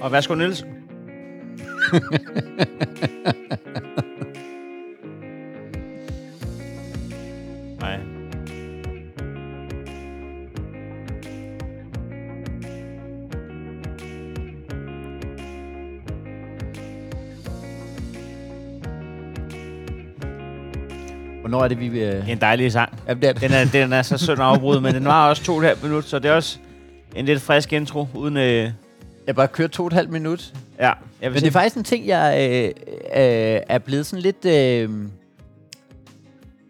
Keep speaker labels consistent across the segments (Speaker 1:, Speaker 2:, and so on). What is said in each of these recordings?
Speaker 1: Og værsgo, Nielsen. Nej.
Speaker 2: Hvornår er det, vi... Øh...
Speaker 1: Det er en dejlig sang.
Speaker 2: Jamen, det er
Speaker 1: Den er, den er så synd afbrudt, men den var også to og et halvt minut, så det er også en lidt frisk intro, uden... Øh,
Speaker 2: Jeg bare kørt to og et halvt minut.
Speaker 1: ja, jeg
Speaker 2: Men det er faktisk en ting, jeg øh, øh, er blevet sådan lidt... Øh,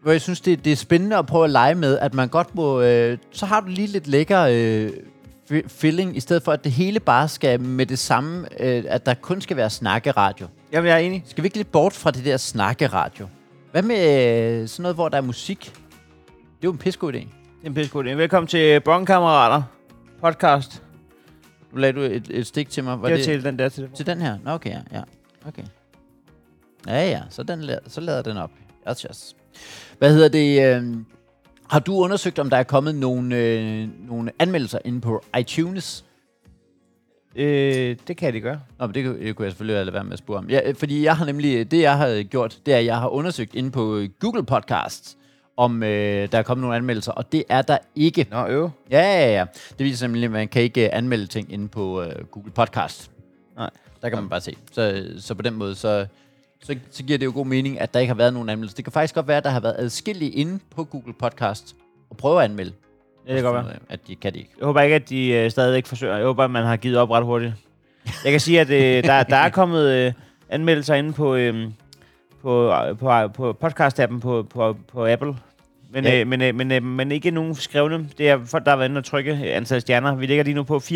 Speaker 2: hvor jeg synes, det, det er spændende at prøve at lege med, at man godt må... Øh, så har du lige lidt lækker øh, fi- feeling, i stedet for, at det hele bare skal med det samme, øh, at der kun skal være snakkeradio.
Speaker 1: Jamen, jeg er enig.
Speaker 2: Skal vi ikke lidt bort fra det der snakkeradio? Hvad med øh, sådan noget, hvor der er musik? Det er jo en pissegod idé.
Speaker 1: Det er en pisse god idé. Velkommen til Bonkammerater podcast.
Speaker 2: Nu lagde du et, et stik til mig. Var
Speaker 1: Det er til den der til
Speaker 2: Til den her? Nå, okay, ja. ja. Okay. Ja, ja, så, den la- så lader den op. Yes, yes. Hvad hedder det? Øh, har du undersøgt, om der er kommet nogle, øh, nogle anmeldelser inde på iTunes?
Speaker 1: Øh, det kan de gøre.
Speaker 2: Nå, men det, kunne- det kunne jeg selvfølgelig lade være med at spørge om. Ja, øh, fordi jeg har nemlig, det jeg har øh, gjort, det er, at jeg har undersøgt inde på øh, Google Podcasts, om øh, der er kommet nogle anmeldelser, og det er der ikke.
Speaker 1: Nå, øv.
Speaker 2: Ja, ja, ja. Det viser simpelthen, at man kan ikke øh, anmelde ting inde på øh, Google Podcast.
Speaker 1: Nej.
Speaker 2: Der kan man bare se. Så, så på den måde, så, så, så giver det jo god mening, at der ikke har været nogen anmeldelser. Det kan faktisk godt være, at der har været adskillige inde på Google Podcast og prøve at anmelde.
Speaker 1: Ja, det kan godt være.
Speaker 2: At de kan det ikke.
Speaker 1: Jeg håber ikke, at de øh, stadigvæk forsøger. Jeg håber, at man har givet op ret hurtigt. Jeg kan sige, at øh, der, der er kommet øh, anmeldelser inde på, øh, på, øh, på, øh, på podcast-appen på, på, på Apple. Men,
Speaker 2: Ja.
Speaker 1: øh, men, øh, men, øh, men ikke nogen skrevne. Det er folk, der har været inde og trykke øh, antal stjerner. Vi ligger lige nu på 4,8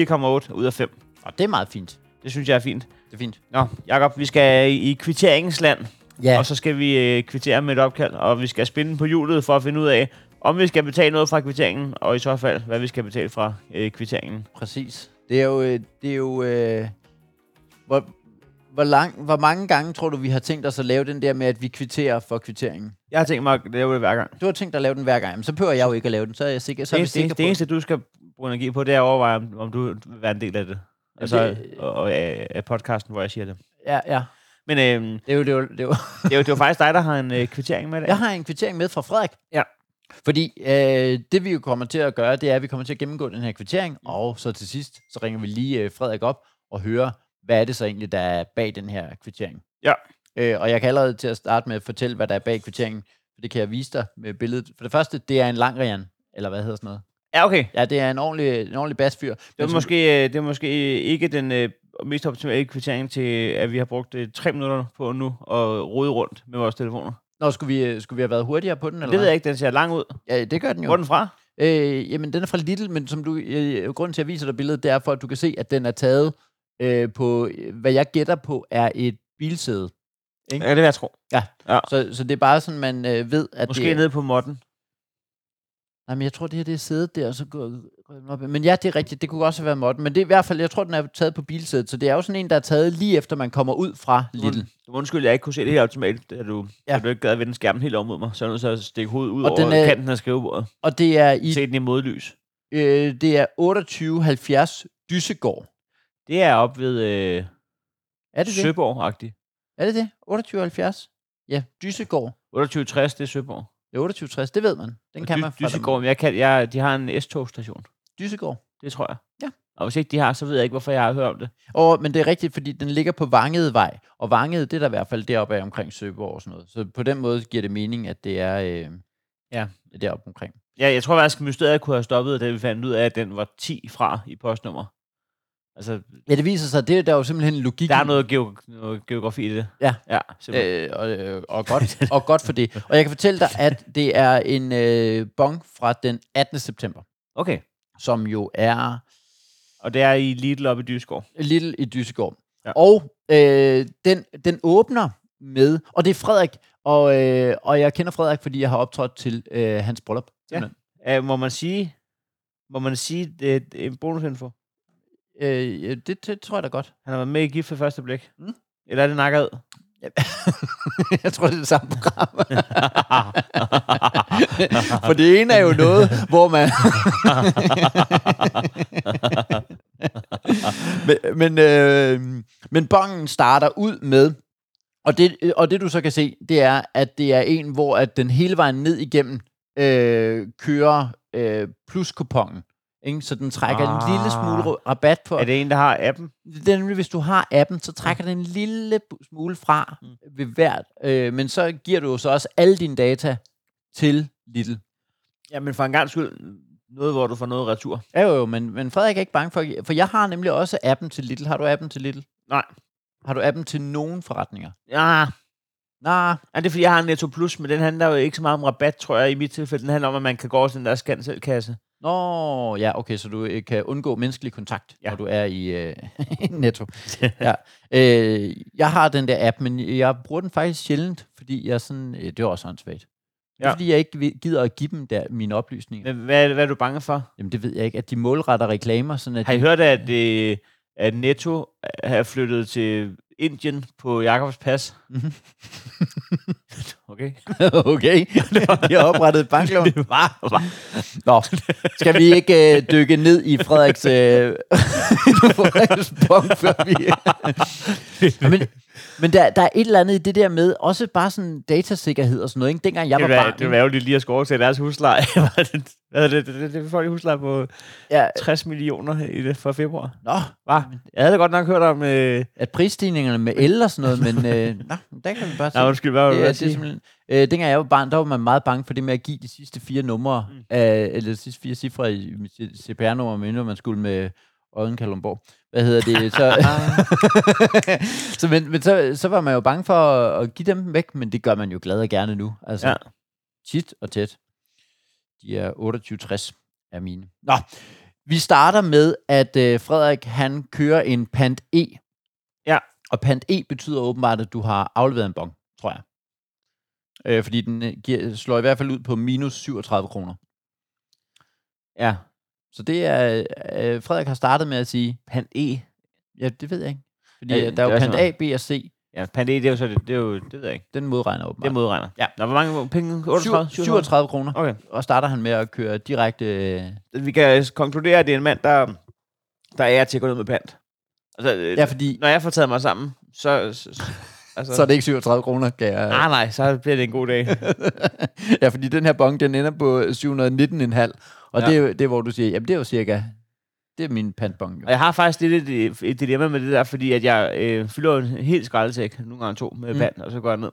Speaker 1: ud af 5.
Speaker 2: Og det er meget fint.
Speaker 1: Det synes jeg er fint.
Speaker 2: Det er fint.
Speaker 1: Nå, Jacob, vi skal i, i kvitteringsland.
Speaker 2: Ja.
Speaker 1: Og så skal vi øh, kvittere med et opkald, og vi skal spinde på hjulet for at finde ud af, om vi skal betale noget fra kvitteringen, og i så fald, hvad vi skal betale fra øh, kvitteringen.
Speaker 2: Præcis. Det er jo... øh, Det er jo øh, hvor, hvor, lang, hvor mange gange tror du, vi har tænkt os at lave den der med, at vi kvitterer for kvitteringen?
Speaker 1: Jeg har tænkt mig at lave det hver gang.
Speaker 2: Du har tænkt dig at lave den hver gang. Jamen, så behøver jeg jo ikke at lave den. Så er jeg sikker, så
Speaker 1: Så
Speaker 2: er vi
Speaker 1: det,
Speaker 2: sikre
Speaker 1: det, det
Speaker 2: på...
Speaker 1: eneste, du skal bruge energi på, det er at overveje, om, om du vil være en del af det. Altså,
Speaker 2: det-
Speaker 1: det... og, og af, af podcasten, hvor jeg siger det.
Speaker 2: Ja, ja.
Speaker 1: Men øh,
Speaker 2: Det er jo, det er jo, det er
Speaker 1: det, er
Speaker 2: jo.
Speaker 1: jo, det er jo faktisk dig, der har en øh, kvittering med i dag.
Speaker 2: Jeg har en kvittering med fra Frederik.
Speaker 1: Ja.
Speaker 2: Fordi øh, det vi jo kommer til at gøre, det er, at vi kommer til at gennemgå den her kvittering, og så til sidst, så ringer vi lige øh, Frederik op og hører, hvad er det så egentlig, der er bag den her kvittering.
Speaker 1: Ja.
Speaker 2: Øh, og jeg kan allerede til at starte med at fortælle, hvad der er bag kvitteringen, for det kan jeg vise dig med billedet. For det første, det er en langrian, eller hvad hedder sådan noget.
Speaker 1: Ja, okay.
Speaker 2: Ja, det er en ordentlig, en ordentlig basfyr.
Speaker 1: Det var, måske, øh, det var måske ikke den øh, mest optimale kvittering til, at vi har brugt øh, tre minutter på nu og rode rundt med vores telefoner.
Speaker 2: Nå, skulle vi, øh, skulle vi have været hurtigere på den? Eller
Speaker 1: Det ved jeg ikke, den ser lang ud.
Speaker 2: ikke. Ja, det gør den jo.
Speaker 1: Hvor er den fra?
Speaker 2: Øh, jamen, den er fra Lidl, men som du, øh, grunden til, at jeg viser dig billedet, det er for, at du kan se, at den er taget øh, på, øh, hvad jeg gætter på, er et bilsæde.
Speaker 1: Ja, det vil jeg tro.
Speaker 2: Så, så det er bare sådan, man øh, ved, at
Speaker 1: Måske
Speaker 2: det
Speaker 1: nede på modden.
Speaker 2: Nej, men jeg tror, det her det er sædet der, og så går, går den op. Men ja, det er rigtigt. Det kunne også have været Morten. Men det er i hvert fald, jeg tror, den er taget på bilsædet. Så det er jo sådan en, der er taget lige efter, man kommer ud fra Lidl.
Speaker 1: Du må undskylde, jeg ikke kunne se det helt optimalt, da du,
Speaker 2: Ja.
Speaker 1: ja. da du ikke gad at vende skærmen helt om mod mig. Så er jeg nødt til at stikke hovedet ud
Speaker 2: Og
Speaker 1: og
Speaker 2: den,
Speaker 1: over
Speaker 2: øh,
Speaker 1: den, kanten af skrivebordet.
Speaker 2: Og det er i
Speaker 1: Se den i modlys.
Speaker 2: øh, det er 2870 Dyssegård.
Speaker 1: Det er op ved øh,
Speaker 2: Er det det?
Speaker 1: Søborg-agtigt.
Speaker 2: Er det det? 2870? Ja, Dyssegård.
Speaker 1: 2860, det er Søborg.
Speaker 2: Det er 2860, det ved man. Den
Speaker 1: Og
Speaker 2: kan
Speaker 1: Dy-
Speaker 2: man fra
Speaker 1: Dyssegård, men jeg kan, jeg, de har en S-togstation.
Speaker 2: Dyssegård.
Speaker 1: Det tror jeg.
Speaker 2: Ja.
Speaker 1: Og hvis ikke de har, så ved jeg ikke, hvorfor jeg har hørt om det.
Speaker 2: Og, men det er rigtigt, fordi den ligger på Vangedevej, og Vangede, det er der i hvert fald deroppe af omkring Søborg og sådan noget. Så på den måde giver det mening, at det er øh,
Speaker 1: Ja.
Speaker 2: deroppe omkring.
Speaker 1: Ja, jeg tror faktisk, at mysteriet kunne have stoppet, da vi fandt ud af, at den var 10 fra i postnummer. Altså,
Speaker 2: Ja, det viser sig, det er der er jo simpelthen en logik
Speaker 1: der er
Speaker 2: i.
Speaker 1: noget, geog- noget geografi i det.
Speaker 2: Ja.
Speaker 1: Ja, simpelthen.
Speaker 2: Øh, og, øh, og, godt, og godt for det. Og jeg kan fortælle dig, at det er en øh, bong fra den 18. september,
Speaker 1: Okay.
Speaker 2: som jo er
Speaker 1: Og det er i Lidl oppe i Dyrskov.
Speaker 2: Lille i Dyssegård. Ja.
Speaker 1: Ja.
Speaker 2: Og øh, den, den åbner med, og det er Frederik, og, øh, og jeg kender Frederik, fordi jeg har optrådt til øh, hans bryllup.
Speaker 1: Ja. Uh, må man sige, må man sige det, det er en bonusinfo?
Speaker 2: Øh, ja, det, det tror jeg da godt.
Speaker 1: Han har været med i Gift ved første blik.
Speaker 2: Mm.
Speaker 1: Mm. Eller er det nakket?
Speaker 2: jeg tror, det er det samme program. For det ene er jo noget, hvor man... men, men, øh, men bongen starter ud med, og det, og det du så kan se, det er, at det er en, hvor at den hele vejen ned igennem øh, kører øh, pluskupongen. Ikke? Så den trækker ah.
Speaker 1: Ah.
Speaker 2: en lille smule rabat på.
Speaker 1: Er det en, der har appen?
Speaker 2: Det er nemlig, hvis du har appen, så trækker den en lille bu- smule fra ved hvert. Øh, men så giver du jo så også alle dine data til Little.
Speaker 1: Ja, men for en gang skyld, noget, hvor du får noget retur.
Speaker 2: Ja, jo, jo, men, men Frederik er ikke bange for... For jeg har nemlig også appen til Little. Har du appen til Little?
Speaker 1: Nej.
Speaker 2: Har du appen til nogen forretninger?
Speaker 1: Ja,
Speaker 2: Nej,
Speaker 1: Ja, det er fordi, jeg har en Netto Plus, men den handler jo ikke så meget om rabat, tror jeg, i mit tilfælde. Den handler om, at man kan gå over til den der scan selv kasse.
Speaker 2: Nå, ja, okay, så du øh, kan undgå menneskelig kontakt, ja.
Speaker 1: Ja.
Speaker 2: når du er i øh, netto. ja. øh, jeg har den der app, men jeg bruger den faktisk sjældent, fordi jeg sådan, øh, det er også åndssvagt. Ja. Det er,
Speaker 1: Ja.
Speaker 2: fordi jeg ikke vil- gider at give dem der, mine oplysninger.
Speaker 1: Men hvad, hvad er du bange for?
Speaker 2: Jamen, det ved jeg ikke, at de målretter reklamer, sådan at
Speaker 1: Har I
Speaker 2: de,
Speaker 1: hørt, at, øh, at Netto er flyttet til Indien på Jakobs Pas?
Speaker 2: Mhm.
Speaker 1: okay.
Speaker 2: okay, de har oprettet et banklån.
Speaker 1: var, var.
Speaker 2: Nå, skal vi ikke øh, dykke ned i Frederiks, øh, Frederiks punkt, før vi... Ja, men men der, der er et eller andet i det der med, også bare sådan datasikkerhed og sådan noget. Ikke? Dengang jeg
Speaker 1: Det
Speaker 2: var
Speaker 1: var,
Speaker 2: barn,
Speaker 1: det var ærgerligt lige at skåre til deres husleje. Hvad er det- Hvad er det, det, det, det får de husleje på
Speaker 2: ja,
Speaker 1: 60 millioner i det for februar.
Speaker 2: nå,
Speaker 1: Var. Jeg havde da godt nok hørt om... Øh...
Speaker 2: at prisstigningerne med el og sådan noget, men øh, nå, men der kan vi bare
Speaker 1: Nej,
Speaker 2: sige.
Speaker 1: undskyld, hvad var
Speaker 2: Det,
Speaker 1: det?
Speaker 2: er-
Speaker 1: hvad
Speaker 2: det er
Speaker 1: jeg sige?
Speaker 2: simpelthen, øh, dengang jeg var barn, der var man meget bange for det med at give de sidste fire numre, mm. af, eller de sidste fire cifre i mit CPR-nummer, men man skulle med Odden Kalundborg. Hvad hedder det? Så, så, men, men så, så var man jo bange for at, at give dem væk, men det gør man jo glad og gerne nu. Altså, ja.
Speaker 1: Ja.
Speaker 2: tit og tæt. De er 28,60 er mine. Nå, vi starter med, at øh, Frederik, han kører en pant E.
Speaker 1: Ja.
Speaker 2: Og pant E betyder åbenbart, at du har afleveret en bong, tror jeg. Øh, fordi den øh, giver, slår i hvert fald ud på minus 37 kroner. ligesom-
Speaker 1: ja.
Speaker 2: Så det er, øh, Frederik har startet med at sige,
Speaker 1: Pan E.
Speaker 2: ja, det ved jeg ikke. Fordi
Speaker 1: Ja,
Speaker 2: øh, der er jo
Speaker 1: det er
Speaker 2: pant A,
Speaker 1: sådan
Speaker 2: B og C,
Speaker 1: Ja, pan E, det er jo så det, det, er jo, det ved jeg ikke.
Speaker 2: den modregner åbenbart.
Speaker 1: Det modregner.
Speaker 2: Ja.
Speaker 1: Nå, hvor mange penge? 38?
Speaker 2: 37 kroner.
Speaker 1: Okay.
Speaker 2: Og starter han med at køre direkte... Øh,
Speaker 1: Vi kan konkludere, at det er en mand, der, der er til at gå ned med pant. Altså, øh,
Speaker 2: ja, fordi
Speaker 1: Når jeg får taget mig sammen, så... så, så altså,
Speaker 2: så er det ikke 37 kroner, kan jeg...
Speaker 1: Nej, nej, så bliver det en god dag.
Speaker 2: ja, fordi den her bong, den ender på 719,5. Og ja.
Speaker 1: Ja.
Speaker 2: det, er, jo- det er, hvor du siger, jamen det er jo cirka... Det er min pantbong.
Speaker 1: Og jeg har faktisk lidt et, et dilemma med det der, fordi at jeg øh, fylder jo en helt skraldesæk, nogle gange to, med
Speaker 2: Mm.
Speaker 1: mm. vand, og så går jeg ned.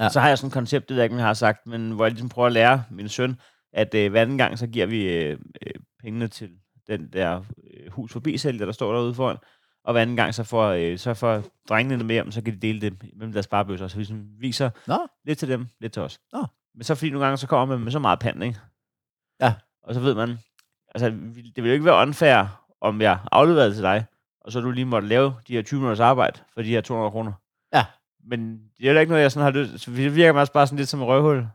Speaker 2: Ja.
Speaker 1: Ja. Så har jeg sådan et koncept, det ved jeg ikke, om jeg har sagt, men hvor jeg ligesom prøver at lære min søn, at øh, hver anden gang, så giver vi øh, øh, pengene til den der øh, hus forbi sælger, der står derude foran. Og hver anden gang, så får, øh, så får drengene det med hjem, så kan de dele det mellem deres sparebøsser. Så vi sådan viser
Speaker 2: Nå.
Speaker 1: lidt til dem, lidt til os.
Speaker 2: Nå.
Speaker 1: Men så fordi nogle gange, så kommer man med så meget pand, ikke?
Speaker 2: Ja.
Speaker 1: Og så ved man, altså, vi- det ville jo ikke være unfair, om jeg afleverede til dig, og så du lige måtte lave de her 20 minutters arbejde for de her 200 kroner.
Speaker 2: Ja.
Speaker 1: Men det er heller ikke noget, jeg sådan har lyst så Det virker mig også bare sådan lidt som et røvhul.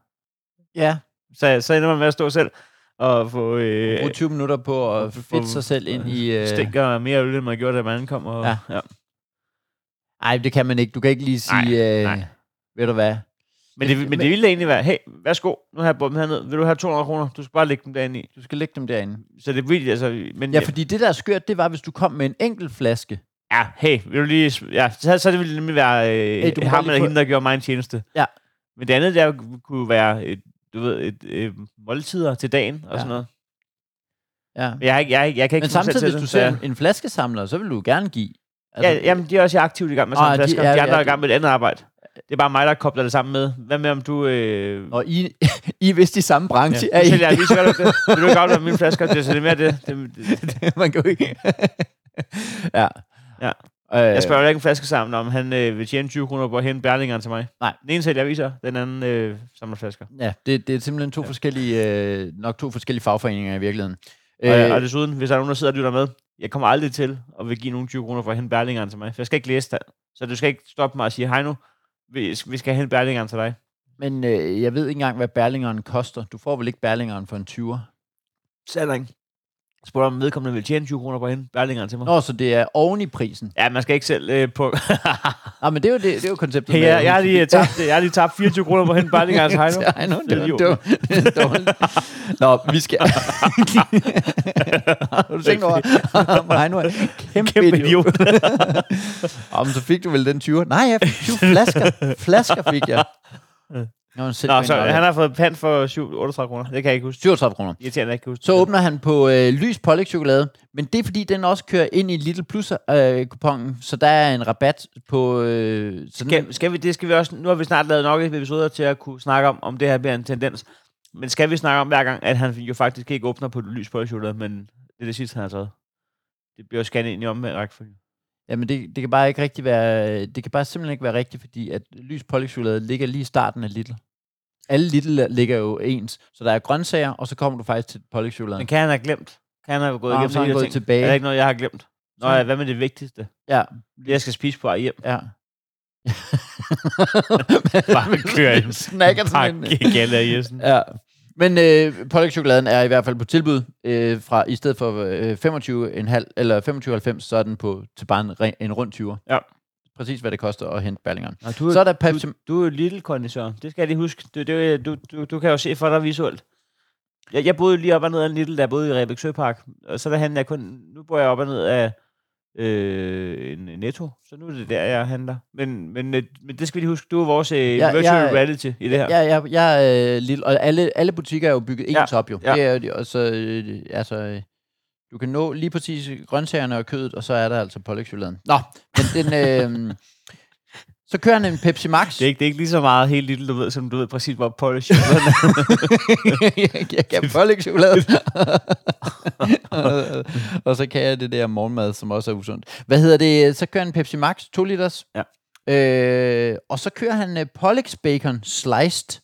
Speaker 2: Ja,
Speaker 1: Så, så ender man med at stå selv og få øh,
Speaker 2: brug 20 minutter på at
Speaker 1: for-
Speaker 2: fedte sig selv ind i... Øh,
Speaker 1: stinker mere øl, end man gjorde, da man ankom. Og,
Speaker 2: Ja.
Speaker 1: ja.
Speaker 2: ej, det kan man ikke. Du kan ikke lige sige... øh,
Speaker 1: nej.
Speaker 2: Ved du hvad?
Speaker 1: Men, det, men det ville da egentlig være, hey, værsgo, nu har jeg bomben herned. Vil du have 200 kroner? Du skal bare lægge dem derinde i.
Speaker 2: Du skal lægge dem derinde.
Speaker 1: Så det ville altså... Men,
Speaker 2: Ja, fordi det der er skørt, det var, hvis du kom med en enkelt flaske.
Speaker 1: ja, hey, vil du lige... sm- Ja, så, så det ville det nemlig være øh,
Speaker 2: Hey,
Speaker 1: hey,
Speaker 2: du må
Speaker 1: ham
Speaker 2: lige
Speaker 1: eller
Speaker 2: få-
Speaker 1: hende, der gjorde mig en tjeneste.
Speaker 2: Ja.
Speaker 1: Men det andet, der kunne være et, du ved, et, øh, måltider til dagen og
Speaker 2: Ja.
Speaker 1: sådan noget.
Speaker 2: Ja.
Speaker 1: Men jeg, har ikke- jeg, jeg, jeg kan ikke
Speaker 2: Men
Speaker 1: få mig selv
Speaker 2: samtidig,
Speaker 1: til
Speaker 2: hvis du
Speaker 1: det, så jeg-
Speaker 2: ser en flaskesamler, så vil du gerne give. Altså,
Speaker 1: Ja, jamen, de er også aktivt i gang med
Speaker 2: Ah,
Speaker 1: samme
Speaker 2: de
Speaker 1: ah, flasker.
Speaker 2: er-
Speaker 1: De, de andre
Speaker 2: ja,
Speaker 1: er i
Speaker 2: de-
Speaker 1: gang med et andet arbejde. Det er bare mig, der kobler det sammen med. Hvad med, om du... Øh,
Speaker 2: Og I, I er vist i samme branche.
Speaker 1: Ja.
Speaker 2: I?
Speaker 1: Nu sælger jeg lige så godt, det. Vil du ikke aflevere mine flasker? Det, så det er mere det. det, det, det.
Speaker 2: Man kan jo ikke... ja.
Speaker 1: Ja.
Speaker 2: Øh,
Speaker 1: Jeg spørger jo ikke en flaske sammen, om han øh, vil tjene 20 kroner på at hente Berlingeren til mig.
Speaker 2: Nej.
Speaker 1: Den ene sælger aviser, den anden øh, samler flasker.
Speaker 2: Ja, det, det er simpelthen to ja. forskellige, øh, nok to forskellige fagforeninger i virkeligheden.
Speaker 1: Øh. Og, og, desuden, hvis der er nogen, der sidder og lytter med, jeg kommer aldrig til at vil give nogen 20 kroner for at hente Berlingeren til mig. For jeg skal ikke læse det. Så du skal ikke stoppe mig og sige, hej nu, vi, vi skal hente Berlingeren til dig.
Speaker 2: men øh, jeg ved ikke engang, hvad Berlingeren koster. Du får vel ikke Berlingeren for en 20'er?
Speaker 1: Sætter ikke. spurgte om vedkommende ville tjene 20 kroner på hende. Berlingeren til mig.
Speaker 2: Nå, så det er oven i prisen.
Speaker 1: Ja, man skal ikke selv øh, på...
Speaker 2: Ah, men det er jo, det, det er jo konceptet.
Speaker 1: hey,
Speaker 2: med-
Speaker 1: jeg, jeg, har lige, øh, tabt, jeg har lige tabt 24 kroner på hende. Berlingerens hej nu.
Speaker 2: Ja, I know, det var,
Speaker 1: Idiot.
Speaker 2: det var, det var dårligt. Nå, vi skal... har du tænkt over? Heino er en
Speaker 1: Kæmpe
Speaker 2: kæmpe, kæmpe idiot.
Speaker 1: idiot.
Speaker 2: Om så fik du vel den 20'er? Nej, jeg fik 20 flasker. Flasker fik jeg. Nå, Nå
Speaker 1: Nå, så han har fået pant for 7, 38 kroner. Det kan jeg ikke huske.
Speaker 2: 37 kroner.
Speaker 1: Irriterende, jeg ikke kan huske.
Speaker 2: Så åbner han på øh, lys pålægchokolade, men det er fordi, den også kører ind i Little Plus-kupongen, øh, kuponen, så der er en rabat på... Øh, sådan,
Speaker 1: Skal, skal vi, det skal vi også, nu har vi snart lavet nok episoder til at kunne snakke om, om det her bliver en tendens. Men skal vi snakke om hver gang, at han jo faktisk ikke åbner på det lys på chokolade, men det er det sidste, han har taget. Det bliver jo scannet ind i omvendt rækkefølge.
Speaker 2: Jamen, det, det, kan bare ikke rigtig være... Det kan bare simpelthen ikke være rigtigt, fordi at lys pålægchokolade ligger lige i starten af Little. Alle Little ligger jo ens, så der er grøntsager, og så kommer du faktisk til
Speaker 1: Men
Speaker 2: pålægchokoladen.
Speaker 1: kan han have glemt? Kan han have gået
Speaker 2: Nå,
Speaker 1: igennem
Speaker 2: så er han
Speaker 1: de her
Speaker 2: gået
Speaker 1: ting?
Speaker 2: tilbage.
Speaker 1: Er der ikke noget, jeg har glemt? Nå,
Speaker 2: Så-
Speaker 1: ja, hvad med det vigtigste?
Speaker 2: Ja,
Speaker 1: Det, jeg skal spise på vej hjem.
Speaker 2: ja.
Speaker 1: Bare køre en
Speaker 2: Snakker sådan en...
Speaker 1: pakke gala i Jessen.
Speaker 2: Ja. Men øh, pålægchokoladen er i hvert fald på tilbud øh, fra i stedet for øh, 25 en halv, eller 25,90, så er den på til bare en, re- en rund 20'er.
Speaker 1: Ja.
Speaker 2: Præcis hvad det koster at hente Berlingeren.
Speaker 1: Nå, du,
Speaker 2: Så er der Pepsi...
Speaker 1: Du er jo lille kondisør. Det skal jeg lige huske. Du, det, du, du, du kan jo se for dig visuelt. Jeg, jeg boede lige op og ned af en lille, der boede i Rebæksø Park. Og så der handler jeg kun... Nu bor jeg op og ned af øh, en en Netto. Så nu er det der, jeg handler. Men, men, øh, men det skal vi lige huske. Du er vores øh,
Speaker 2: Ja,
Speaker 1: ja, virtual
Speaker 2: jeg-
Speaker 1: ja, reality i det her. Ja,
Speaker 2: Ja, ja, ja, øh, lille, og alle, alle butikker er jo bygget
Speaker 1: Ja,
Speaker 2: ens op jo.
Speaker 1: ja.
Speaker 2: Det er jo, de- og så, øh, altså, øh, du kan nå lige præcis grøntsagerne og kødet, og så er der altså pålægchokoladen. Nå, men den, øh, så kører han en Pepsi Max.
Speaker 1: det, er ikke, det er ikke lige så meget helt lille, du ved, som du ved præcis, hvor polish er.
Speaker 2: jeg, jeg kan pålægchokolade. og så kan jeg det der morgenmad, som også er usundt. Hvad hedder det? Så kører han Pepsi Max, 2 liters.
Speaker 1: Ja.
Speaker 2: Øh, og så kører han uh, Pollex Bacon Sliced.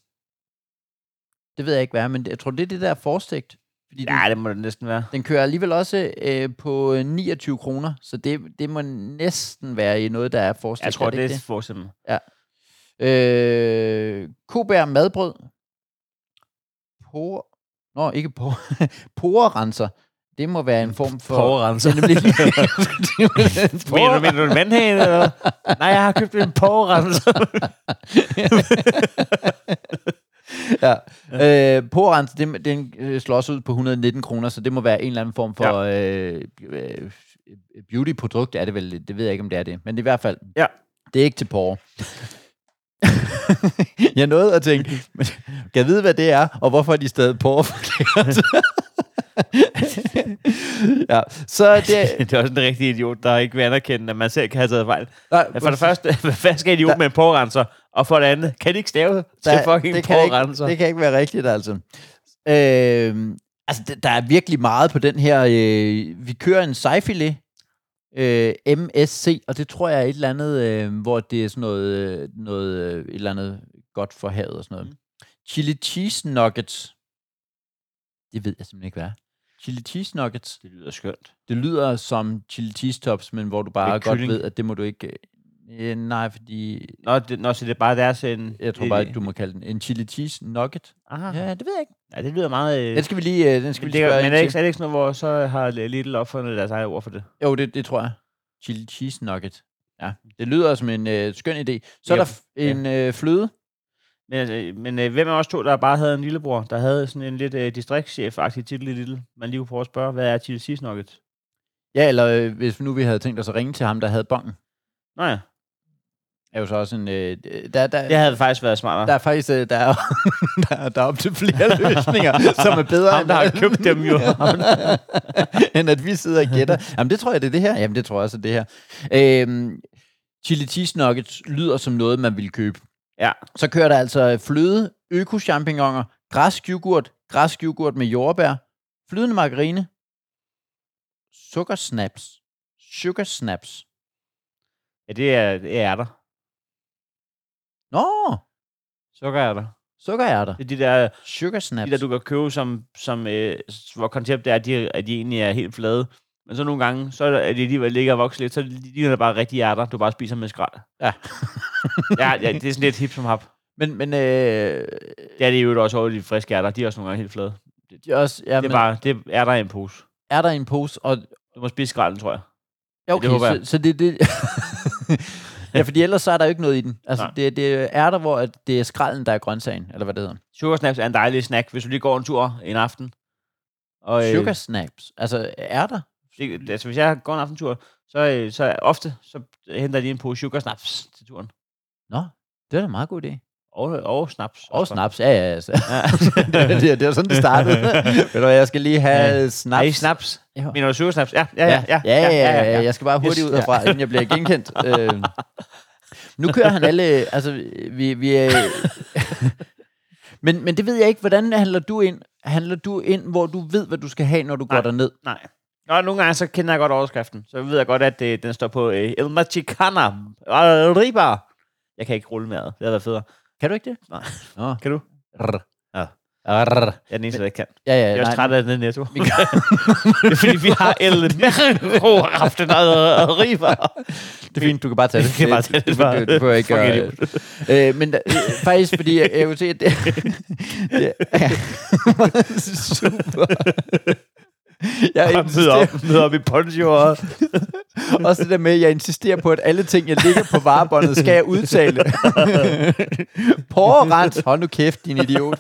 Speaker 2: Det ved jeg ikke, hvad er, men jeg tror, det er det der forstegt. Fordi den,
Speaker 1: Nej, det må det næsten være.
Speaker 2: den kører alligevel også øh, på øh, 29 kroner, så det, det må næsten være i noget, der er forstegt.
Speaker 1: Jeg tror,
Speaker 2: er
Speaker 1: det,
Speaker 2: ikke
Speaker 1: er for eksempel.
Speaker 2: Øh, Kobær madbrød. Por... Nå, ikke por... Porerenser. Det må være en form for...
Speaker 1: Porrenser.
Speaker 2: Det er nemlig- det er nemlig en
Speaker 1: Mener du,
Speaker 2: porre-
Speaker 1: mener du en vandhane, eller hvad? Nej, jeg har købt en porrenser.
Speaker 2: ja. øh, porrenser, det, den øh, slår også ud på 119 kroner, så det må være en eller anden form for øh, øh, beauty-produkt, er det vel? Det ved jeg ikke, om det er det. Men i hvert fald,
Speaker 1: Ja.
Speaker 2: det er ikke til porre. jeg nåede at tænke, men kan jeg vide, hvad det er, og hvorfor er de stadig porre forkert? ja, så det...
Speaker 1: det er også en rigtig idiot, der ikke vil anerkende, at man selv kan have taget fejl.
Speaker 2: Nej,
Speaker 1: Ja, For det første, hvad fanden skal en idiot med en porrenser? Og for det andet, kan de ikke stave til
Speaker 2: Der-
Speaker 1: fucking
Speaker 2: det kan
Speaker 1: porrenser?
Speaker 2: Ikke, det kan ikke være rigtigt, altså. Øh, altså, det- der er virkelig meget på den her. Øh, vi kører en sejfilet. Øh, MSC, og det tror jeg er et eller andet, øh, hvor det er sådan noget, øh, noget øh, et eller andet godt for havet og sådan noget.
Speaker 1: Mm.
Speaker 2: Chili cheese nuggets. Det ved jeg simpelthen ikke, hvad er. Chili cheese nuggets.
Speaker 1: Det lyder skønt.
Speaker 2: Det lyder som chili cheese tops, men hvor du bare
Speaker 1: Med
Speaker 2: godt
Speaker 1: kylling.
Speaker 2: ved, at det må du ikke... Øh, nej, fordi...
Speaker 1: Nå, det, nå, så det er bare deres... øh, En,
Speaker 2: Jeg tror bare, at du må kalde den en chili cheese nugget.
Speaker 1: Aha. Ja.
Speaker 2: Ja, det ved jeg ikke.
Speaker 1: ja, det lyder meget... Øh,
Speaker 2: Den skal vi lige, øh, den skal vi
Speaker 1: men,
Speaker 2: lige
Speaker 1: det,
Speaker 2: spørge
Speaker 1: men er, det
Speaker 2: ind
Speaker 1: ikke,
Speaker 2: til.
Speaker 1: er det ikke sådan noget, hvor så har Little opfundet deres eget ord for det?
Speaker 2: Jo, det, det tror jeg. Chili cheese nugget. Ja, det lyder som en øh, skøn idé. Så er
Speaker 1: Ja.
Speaker 2: der f- en øh, fløde.
Speaker 1: Men, altså, øh, men øh, hvem af os to, der bare havde en lillebror, der havde sådan en lidt øh, distriktschef-agtig titel i Little, man lige kunne prøve at spørge, hvad er Chili Cheese Nuggets?
Speaker 2: Ja, eller øh, hvis nu vi havde tænkt os at ringe til ham, der havde bongen.
Speaker 1: Nå ja,
Speaker 2: Er jo så også en... Øh, der, der,
Speaker 1: det havde faktisk været smartere.
Speaker 2: der er faktisk øh, der er, der, er- der er op til flere løsninger, som er bedre
Speaker 1: Ham,
Speaker 2: end
Speaker 1: der har købt dem jo. Ham,
Speaker 2: end at vi sidder og gætter. Jamen, det tror jeg, det er det her. Jamen, det tror jeg også, det er det her. Øhm, chili cheese nuggets lyder som noget, man ville købe.
Speaker 1: Ja.
Speaker 2: Så kører der altså fløde, øko-champignoner, græsk yoghurt, græsk yoghurt med jordbær, flydende margarine, sukkersnaps, sugarsnaps.
Speaker 1: Ja, det er, det er ærter.
Speaker 2: Nå,
Speaker 1: Sukkerærter.
Speaker 2: sukkerærter.
Speaker 1: Det er de der,
Speaker 2: Sugarsnaps.
Speaker 1: de der du kan købe, som, som, øh, s- hvor konceptet er, at de, at de egentlig er helt flade. Men så nogle gange, så er det- at de alligevel ligger og vokser lidt, så ligner det bare rigtige ærter, du bare spiser med skrald.
Speaker 2: Ja.
Speaker 1: ja, ja, det er sådan lidt hip som hap.
Speaker 2: Men, men øh,
Speaker 1: Det er det jo også over de friske ærter, de er også nogle gange helt flade.
Speaker 2: de er også, ja,
Speaker 1: Det er
Speaker 2: men,
Speaker 1: bare, det er ærter i en pose.
Speaker 2: er der i en pose, og
Speaker 1: Du må spise skralden, tror jeg.
Speaker 2: ja, okay,
Speaker 1: det håber jeg.
Speaker 2: så, så det det... ja, fordi ellers så er der jo ikke noget i den. Altså,
Speaker 1: Nej.
Speaker 2: det, det er der, hvor at det er skralden, der er grøntsagen, eller hvad det hedder.
Speaker 1: Sugar snaps er en dejlig snack, hvis du lige går en tur en aften. Og, øh,
Speaker 2: Sugar snaps. Altså, er der?
Speaker 1: det, altså, hvis jeg går en aftentur, så, øh, så ofte så henter jeg lige en pose sugar snaps til turen.
Speaker 2: Nå, det er da en meget god idé.
Speaker 1: Og, og snaps.
Speaker 2: Og snaps, ja, ja, altså.
Speaker 1: Ja.
Speaker 2: det, det, det var sådan, det startede. Ved du hvad, jeg skal lige have snaps.
Speaker 1: Snaps. Hey, snaps.
Speaker 2: Ja.
Speaker 1: Mener du sugar snaps? Ja, ja, ja.
Speaker 2: ja, ja, ja, ja, ja. Jeg skal bare hurtigt
Speaker 1: Yes.
Speaker 2: ud herfra, inden jeg bliver genkendt. øh. Nu kører han alle... Altså, vi... vi øh. men, men det ved jeg ikke. Hvordan handler du ind? Handler du ind, hvor du ved, hvad du skal have, når du går
Speaker 1: Nej.
Speaker 2: derned?
Speaker 1: Nej. Nå, nogle gange så kender jeg godt overskriften. Så ved jeg godt, at øh, den står på øh, El Mexicana Riba. Jeg kan ikke rulle med. Det havde været federe.
Speaker 2: Kan du ikke det?
Speaker 1: Nej.
Speaker 2: Nå.
Speaker 1: Kan du?
Speaker 2: Rr.
Speaker 1: Ja.
Speaker 2: Rr.
Speaker 1: Jeg er den eneste, der ikke kan.
Speaker 2: Ja, ja,
Speaker 1: Jeg er også
Speaker 2: Øh, nej.
Speaker 1: træt af den netto.
Speaker 2: Vi gør-
Speaker 1: Det er fordi, vi har El Mexicana Riba.
Speaker 2: Det er fint, du kan bare tage det.
Speaker 1: Jeg kan bare tage det,
Speaker 2: Du-
Speaker 1: bare.
Speaker 2: Du, du behøver ikke
Speaker 1: Fuck
Speaker 2: gøre
Speaker 1: it.
Speaker 2: det. Øh, men der, øh, faktisk, fordi jeg, jeg kunne se, at det, det er super. Jeg
Speaker 1: Bare møder
Speaker 2: insisterer,
Speaker 1: op, møder op i poncho og
Speaker 2: også det der med, at jeg insisterer på, at alle ting, jeg ligger på varebåndet, skal jeg udtale. Porrens, hold nu kæft, din idiot.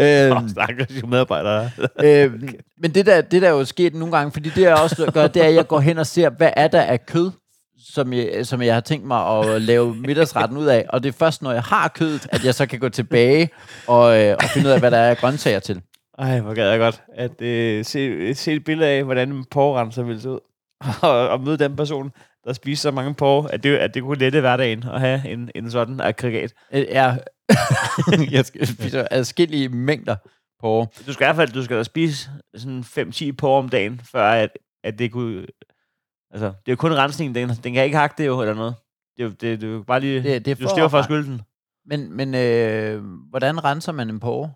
Speaker 2: Øhm,
Speaker 1: stakkels medarbejdere.
Speaker 2: øh, men det der, det der er jo sket nogle gange, fordi det jeg også gør, det er, at jeg går hen og ser, hvad er der af kød, som jeg, som jeg har tænkt mig at lave middagsretten ud af. Og det er først, når jeg har kødet, at jeg så kan gå tilbage og, øh, og finde ud af, hvad der er af grøntsager til.
Speaker 1: Ej, hvor gad jeg godt at øh, se, se et billede af, hvordan en porrenser ville se ud. og, og møde den person, der spiser så mange porre, at det, at det kunne lette hverdagen at have en, en sådan aggregat.
Speaker 2: Øh, Jeg, jeg skal- spiser adskillige mængder på.
Speaker 1: Du skal i hvert fald du skal da spise sådan 5-10 porre om dagen, før at, at det kunne... Altså, det er jo kun rensningen, den, den kan ikke hakke det jo, eller noget. Det, er jo- det, det er jo bare lige... Det,
Speaker 2: Det, det er
Speaker 1: du stiver for at
Speaker 2: forret.
Speaker 1: skylde den.
Speaker 2: Men, men øh, hvordan renser man en porre?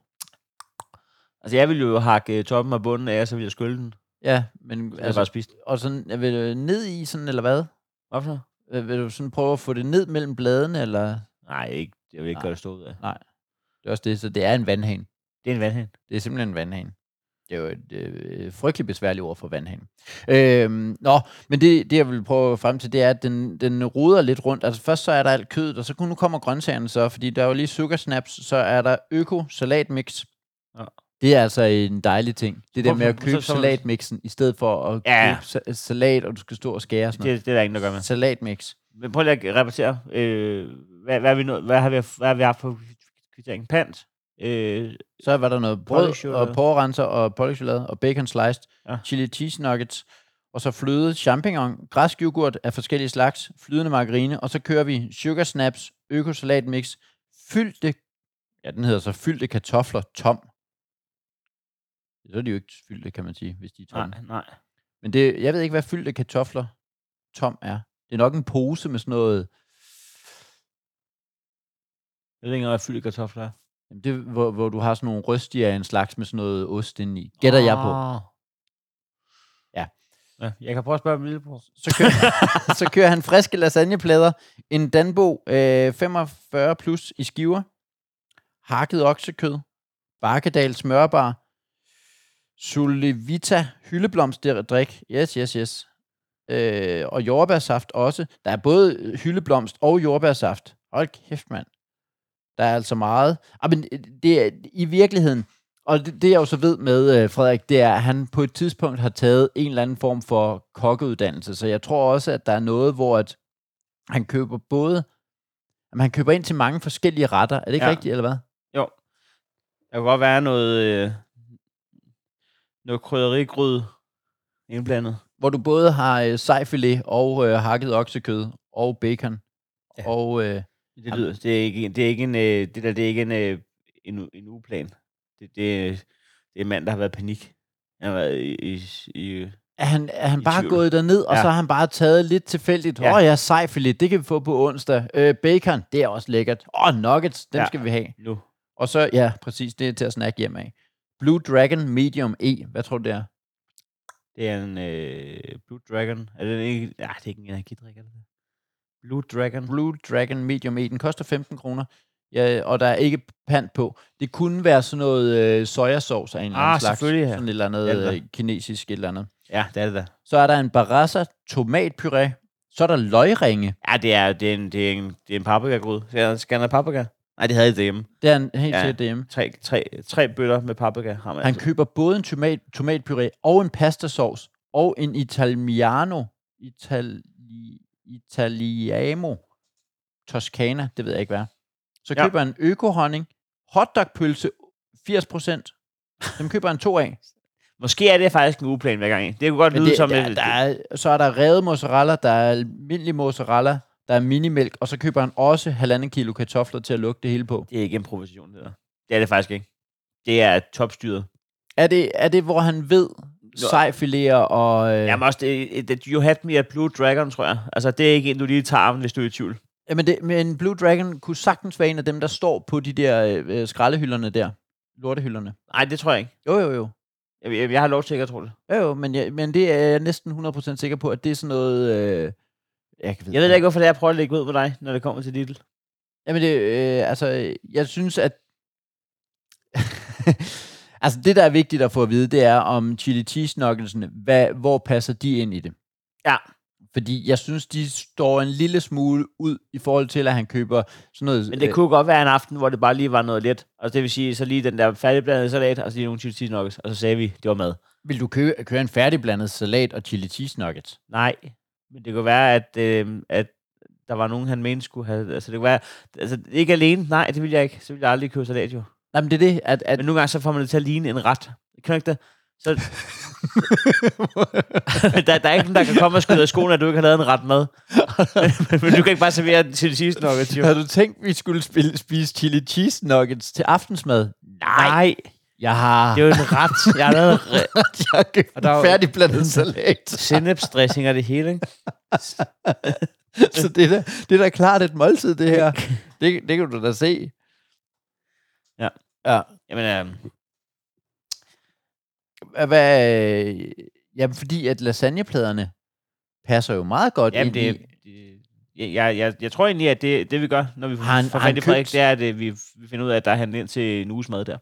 Speaker 1: Altså, jeg ville jo hakke øh, toppen og bunden af, og så ville jeg skylde den.
Speaker 2: Ja, men
Speaker 1: Så altså, jeg bare
Speaker 2: altså,
Speaker 1: spist den.
Speaker 2: og sådan, vil du ned i sådan, eller hvad?
Speaker 1: Hvorfor?
Speaker 2: Øh, Vil du sådan prøve at få det ned mellem bladene, eller?
Speaker 1: Nej, ikke, jeg vil ikke
Speaker 2: Nej.
Speaker 1: gøre det stå ud af.
Speaker 2: Det er også det, så det er en vandhane.
Speaker 1: Det er en vandhæn.
Speaker 2: Det er simpelthen en vandhane. Det er jo et øh, frygteligt besværligt ord for vandhane. Øhm, nå, men det, det, jeg vil prøve frem til, det er, at den, den ruder lidt rundt. Altså først så er der alt kødet, og så kun- nu kommer grøntsagerne så, fordi der er jo lige sugar snaps, så er der øko salatmix.
Speaker 1: Ja.
Speaker 2: Det er altså en dejlig ting. Det der
Speaker 1: Hvorfor-
Speaker 2: med at
Speaker 1: så-
Speaker 2: købe
Speaker 1: så-
Speaker 2: salatmixen, i stedet for at
Speaker 1: Ja.
Speaker 2: købe sa- salat, og du skal stå og skære og sådan
Speaker 1: Det, det er der ingen, der gør med.
Speaker 2: noget. Salatmix.
Speaker 1: Men prøv lige at repetere. Øh, hvad, hvad, er vi nå, hvad, har vi, hvad har vi haft på kvitteringen? Pant? Øh,
Speaker 2: Så var der noget brød
Speaker 1: Pålægschokolade.
Speaker 2: og porrenser og pålægschokolade og bacon sliced,
Speaker 1: Ja.
Speaker 2: ja. chili cheese nuggets, og så fløde, champignon, græsk yoghurt af forskellige slags, flydende margarine, og så kører vi sugar snaps, økosalat mix, fyldte, ja den hedder så fyldte kartofler tom. Så er de jo ikke fyldte, kan man sige, hvis de er tomme.
Speaker 1: nej, nej.
Speaker 2: Men det, jeg ved ikke, hvad fyldte kartofler tom er. Det er nok en pose med sådan noget,
Speaker 1: Jeg ved ikke, hvad fyldte kartofler er.
Speaker 2: jamen det, hvor, hvor du har sådan nogle rystier af en slags med sådan noget ost indeni. Gætter jeg på.
Speaker 1: Ah.
Speaker 2: Ja.
Speaker 1: ja. Jeg kan prøve at spørge min lillebror.
Speaker 2: så kører, så kører han friske lasagneplader, en danbo øh, 45 plus i skiver, hakket oksekød, bakkedal smørbar, sulevita hyldeblomstdrik, yes, yes, yes, øh, og jordbærsaft også. Der er både øh, hyldeblomst og jordbærsaft. Hold kæft, mand. Der er altså meget. Ah, men øh, det er i virkeligheden, og det, det jeg jo så ved med øh, Frederik, det er, at han på et tidspunkt har taget en eller anden form for kokkeuddannelse. Så jeg tror også, at der er noget, hvor at han køber både... Jamen, han køber ind til mange forskellige retter. Er det ikke
Speaker 1: Ja.
Speaker 2: ja. rigtigt, eller hvad?
Speaker 1: Der kunne godt være noget, øh, noget krydderigryd indblandet.
Speaker 2: Hvor du både har øh, sejfilet og øh, hakket oksekød og bacon.
Speaker 1: Ja.
Speaker 2: Ja. Og øh,
Speaker 1: Det, lyder, det er ikke, det er ikke en, øh, det der, det er ikke en, øh, en, en ugeplan. Det, det, det er en mand, der har været i panik. Han har været i, i, i
Speaker 2: er han, er han
Speaker 1: I
Speaker 2: bare
Speaker 1: tvivl.
Speaker 2: gået derned, og
Speaker 1: Ja.
Speaker 2: så har han bare taget lidt tilfældigt. Åh
Speaker 1: Ja.
Speaker 2: ja. oh, ja, sejfilet, det kan vi få på onsdag. Øh, bacon, det er også lækkert. Åh, oh, nuggets, dem
Speaker 1: Ja.
Speaker 2: ja. skal vi have.
Speaker 1: nu.
Speaker 2: Og så, ja, præcis, det er til at snakke hjem af. Blue Dragon Medium E, hvad tror du det er?
Speaker 1: Det er en øh, Blue Dragon. Er det ikke? Ja, det er ikke en energidrik, er det det? Blue Dragon.
Speaker 2: Blue Dragon Medium E, den koster 15 kroner. ja, og der er ikke pant på. Det kunne være sådan noget øh, sojasauce af en eller anden
Speaker 1: Ah,
Speaker 2: slags.
Speaker 1: selvfølgelig, ja.
Speaker 2: Sådan et eller andet
Speaker 1: Ja, det er.
Speaker 2: øh, kinesisk et eller andet.
Speaker 1: Ja, det er det da.
Speaker 2: Så er der en barassa tomatpuré. Så er der løgringe.
Speaker 1: Ja, det er, det er en, det er en, det er en paprikagrød. Skal jeg- Skal han have paprika? Nej, det havde jeg derhjemme.
Speaker 2: Det er en helt
Speaker 1: Ja.
Speaker 2: ja. Altså. til DM.
Speaker 1: Tre, tre, tre bøtter med paprika har man.
Speaker 2: Han
Speaker 1: altid.
Speaker 2: køber både en tomat, tomatpuré og en pastasauce og en italiano. Itali, italiamo. Toscana, det ved jeg ikke hvad. er. Så
Speaker 1: Ja.
Speaker 2: køber han økohonning, hotdogpølse 80%. Dem køber han to af.
Speaker 1: Måske er det faktisk en ugeplan hver gang. Det kunne godt
Speaker 2: Men
Speaker 1: lyde
Speaker 2: det,
Speaker 1: som...
Speaker 2: der,
Speaker 1: et-
Speaker 2: der er, så er der revet mozzarella, der er almindelig mozzarella, der er minimælk, og så køber han også halvanden kilo kartofler til at lukke det hele på.
Speaker 1: Det er ikke improvisation, det der. Det er det faktisk ikke. Det er topstyret.
Speaker 2: Er det, er det hvor han ved sejfiléer og... Øh,
Speaker 1: Ja. Jamen også, det, det, you had me at Blue Dragon, tror jeg. Altså, det er ikke en, du lige tager om, hvis du er i tvivl.
Speaker 2: jamen det, men Blue Dragon kunne sagtens være en af dem, der står på de der øh, skraldehylderne der. Lortehylderne.
Speaker 1: Nej, det tror jeg ikke.
Speaker 2: Jo, jo, jo.
Speaker 1: Jeg, jeg, jeg har lov til ikke at tro det.
Speaker 2: Jo, jo, men, jeg, men det er jeg næsten 100% sikker på, at det er sådan noget... Øh, jeg, kan
Speaker 1: Jeg ved da ikke, hvorfor det er, jeg prøver at lægge ud på dig, når det kommer til Lidl.
Speaker 2: Jamen, det, øh, altså, jeg synes, at... altså, det, der er vigtigt at få at vide, det er om chili cheese knucklesene, hvad, hvor passer de ind i det?
Speaker 1: Ja.
Speaker 2: Fordi jeg synes, de står en lille smule ud i forhold til, at han køber sådan noget... øh,
Speaker 1: Men det kunne godt være en aften, hvor det bare lige var noget let. Og det vil sige, så lige den der færdigblandede salat, og så lige nogle chili cheese nuggets, og så sagde vi, det var mad.
Speaker 2: Øh, vil du købe, køre en færdigblandet salat og chili cheese nuggets?
Speaker 1: Nej, men det kunne være, at, øh, at der var nogen, han mente skulle have... Altså, det kunne være... Altså, ikke alene. Nej, det ville jeg ikke. Så ville jeg aldrig købe salat, jo.
Speaker 2: Nej, men det er det, at... at
Speaker 1: Men nogle gange, så får man det til at ligne en ret. Kan du ikke det? Så der, der er ikke nogen, der kan komme og skyde af skoene, at du ikke har lavet en ret mad. men, men, du kan ikke bare servere til det sidste nok.
Speaker 2: Har du tænkt, vi skulle spille, spise chili cheese nuggets til aftensmad?
Speaker 1: Nej,
Speaker 2: Jeg har...
Speaker 1: det er jo en ret. Jeg har lavet re-
Speaker 2: jeg har købt
Speaker 1: Og der er jo-
Speaker 2: en færdigblandet salat.
Speaker 1: sennepsdressing og det hele, ikke?
Speaker 2: Så det er, da, det er da klart et måltid, det her. Det, det kan du da se.
Speaker 1: Ja.
Speaker 2: ja.
Speaker 1: Jamen, øh,
Speaker 2: Hvad, øh, jamen, fordi at lasagnepladerne passer jo meget godt
Speaker 1: jamen
Speaker 2: ind
Speaker 1: det,
Speaker 2: i...
Speaker 1: det jeg, jeg, jeg, jeg tror egentlig, at det, det vi gør, når vi får
Speaker 2: Har han-
Speaker 1: får
Speaker 2: har han
Speaker 1: fat i Frederik,
Speaker 2: købt-
Speaker 1: det er, at øh, vi, vi finder ud af, at der er handlet ind til en uges mad der.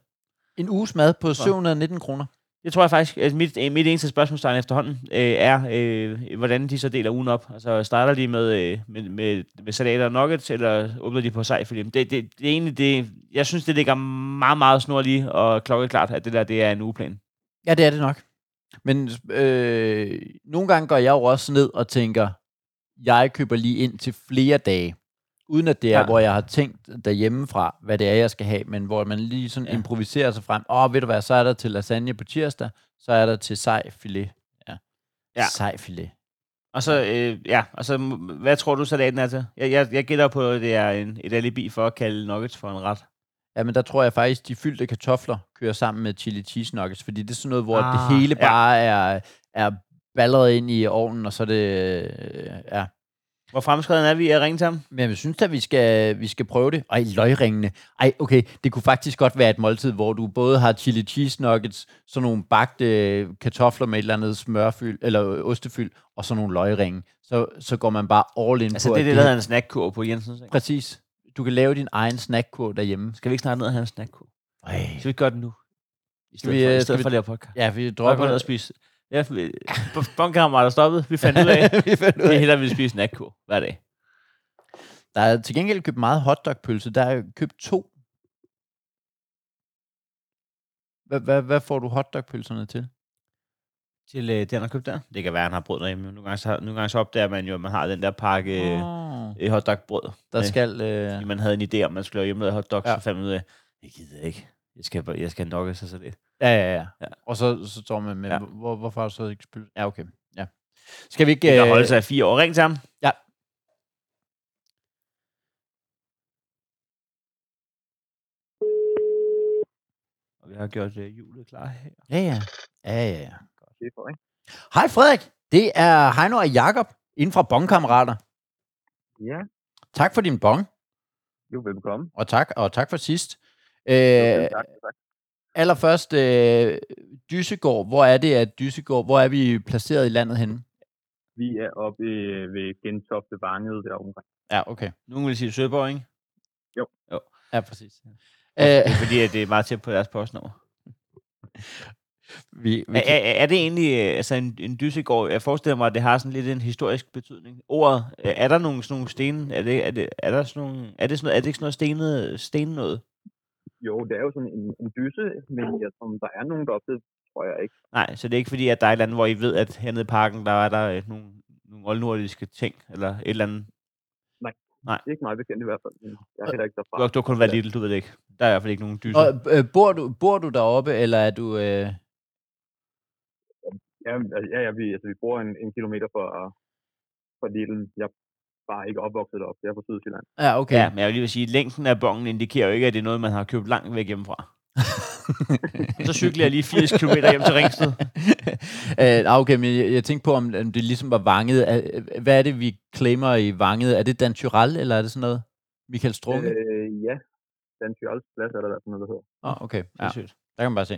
Speaker 2: En uges mad på 719 kroner.
Speaker 1: Det tror jeg faktisk. Altså mit, øh, mit eneste spørgsmålstegn efterhånden øh, er, øh, hvordan de så deler ugen op. Altså starter de med, øh, med, med, med salater og nuggets, eller åbner de på sej for dem? Det, det, det er egentlig det, jeg synes, det ligger meget, meget snorlige og klokkeklart, at det der det er en ugeplan.
Speaker 2: Ja, det er det nok. Men øh, nogle gange går jeg jo også ned og tænker, jeg køber lige ind til flere dage, uden at det er,
Speaker 1: Ja.
Speaker 2: ja. hvor jeg har tænkt derhjemmefra, hvad det er, jeg skal have, men hvor man lige sådan
Speaker 1: Ja.
Speaker 2: ja. improviserer sig frem. Åh, oh, ved du hvad, så er der til lasagne på tirsdag, så er der til sej filet. Ja.
Speaker 1: Ja.
Speaker 2: Sej filet.
Speaker 1: Og så, øh, ja, og så, m- hvad tror du, salaten er til? Jeg, jeg, jeg gætter på, at det er en, et alibi for at kalde nuggets for en ret.
Speaker 2: Ja, men der tror jeg faktisk, de fyldte kartofler kører sammen med chili cheese nuggets, fordi det er sådan noget, hvor ah,
Speaker 1: Ah,
Speaker 2: det hele
Speaker 1: ja.
Speaker 2: bare er, er balleret ind i ovnen, og så er det... Øh, ja.
Speaker 1: Hvor fremskreden er vi at ringe til ham?
Speaker 2: Men jeg synes da, vi skal, vi skal prøve det. Ej, løgringene. Ej, okay, det kunne faktisk godt være et måltid, hvor du både har chili cheese nuggets, sådan nogle bagte øh, kartofler med et eller andet smørfyld, eller øh, ostefyld, og sådan nogle løgringe. Så, så går man bare all in
Speaker 1: Altså,
Speaker 2: på,
Speaker 1: det er
Speaker 2: at
Speaker 1: det, der hedder en snackkurv på Jensens. Ikke?
Speaker 2: Præcis. Du kan lave din egen snackkurv derhjemme.
Speaker 1: Skal vi ikke snart ned og have en snackkurv?
Speaker 2: Ej.
Speaker 1: Skal vi ikke gøre det nu? I stedet
Speaker 2: vi,
Speaker 1: for,
Speaker 2: øh,
Speaker 1: i
Speaker 2: skal
Speaker 1: stedet
Speaker 2: vi-
Speaker 1: for at lave podcast.
Speaker 2: Ja, vi
Speaker 1: Drop
Speaker 2: dropper
Speaker 1: ned og spise. Ja, vi- b- Bonkammerater stoppede. Vi fandt ud af,
Speaker 2: vi fandt ud
Speaker 1: det er
Speaker 2: af.
Speaker 1: hellere, vi spise natkur hver dag.
Speaker 2: Der er til gengæld købt meget hotdogpølse. Der er købt to. Hvad, hvad, hvad får du hotdogpølserne til?
Speaker 1: Til øh, det, han har købt der. Det kan være, han har brød derhjemme. Nogle gange, så, nogle gange så opdager man jo, at man har den der pakke øh,
Speaker 2: Åh.
Speaker 1: øh, hotdogbrød.
Speaker 2: Ah. Der
Speaker 1: Øh,
Speaker 2: skal... Øh,
Speaker 1: Fordi man havde en idé om, man skulle lave hjemmelavet hotdog, ja.
Speaker 2: Ja.
Speaker 1: så fandt man ud af, det gider jeg ikke. Jeg skal, bare- jeg skal nok så så lidt.
Speaker 2: Ja, ja, ja.
Speaker 1: Ja.
Speaker 2: ja. Og så, så står man med,
Speaker 1: Ja.
Speaker 2: ja. hvor, hvorfor har du så ikke spillet? Ja, okay. Ja. Skal vi
Speaker 1: Det
Speaker 2: ikke...
Speaker 1: kan
Speaker 2: øh,
Speaker 1: holde sig i fire år. Ring til ham.
Speaker 2: Ja.
Speaker 1: Og vi har gjort øh, julet klar her.
Speaker 2: Ja, ja. Ja, ja, ja. Hej Frederik, det er Heino og Jakob inden fra Bongkammerater.
Speaker 3: Ja,
Speaker 2: Tak for din bong,
Speaker 3: jo velkommen.
Speaker 2: og tak, og tak for sidst.
Speaker 3: Jo,
Speaker 2: Øh,
Speaker 3: tak, tak.
Speaker 2: allerførst, øh, Dyssegård. Hvor er det, at Dyssegård, hvor er vi placeret i landet henne?
Speaker 3: Vi er oppe øh, ved Gentofte Vanget der omkring.
Speaker 2: Ja, okay.
Speaker 1: Nogen vil sige Søborg, ikke?
Speaker 3: Jo.
Speaker 1: jo.
Speaker 2: Ja, præcis.
Speaker 1: Æh,
Speaker 2: Øh,
Speaker 1: det er fordi, at det er meget tæt på deres postnummer.
Speaker 2: vi, vi
Speaker 1: Er,
Speaker 2: kan,
Speaker 1: er, er det egentlig øh, altså en, en dysegård? Jeg forestiller mig, at det har sådan lidt en historisk betydning. Ordet, øh, er der nogle sådan nogle sten? Er det, er det, er der sådan nogle, er det, sådan, noget- er det ikke sådan noget stenet, sten noget?
Speaker 3: Jo, det er jo sådan en, en dyse, men jeg tror, der er nogen, der opdagede, tror jeg ikke.
Speaker 1: Nej, så det er ikke fordi, at der er et eller andet, hvor I ved, at hernede i parken, der er der øh, nogle, nogle oldnordiske ting, eller et eller andet.
Speaker 3: Det er ikke meget bekendt i hvert fald. men Jeg er heller ikke derfra.
Speaker 1: Du har, du har kun været lille, du ved det ikke. Der er i hvert fald ikke nogen dyser.
Speaker 2: og, øh, bor, du, bor du deroppe, eller er du... Øh,
Speaker 3: Ja, altså, ja, ja vi, altså, vi bor en, en kilometer fra, fra Lille. Jeg er bare ikke opvokset deroppe. Jeg er fra Sydsjælland.
Speaker 2: ja, okay.
Speaker 1: Ja, men jeg vil lige vil sige, at længden af bongen indikerer jo ikke, at det er noget, man har købt langt væk hjemmefra. så cykler jeg lige 80 km hjem til Ringsted.
Speaker 2: Øh, nå, okay, men jeg, jeg tænkte på, om, om det ligesom var vanget. Er- Hvad er det, vi claimer i vanget? Er det Dan Tyrell, eller er det sådan noget? Michael Strunge? Øh.
Speaker 3: Øh, ja, den Tjørls plads er der i hvert fald noget, der hedder.
Speaker 2: Oh, okay, ja,
Speaker 1: Ja.
Speaker 2: der kan man bare se.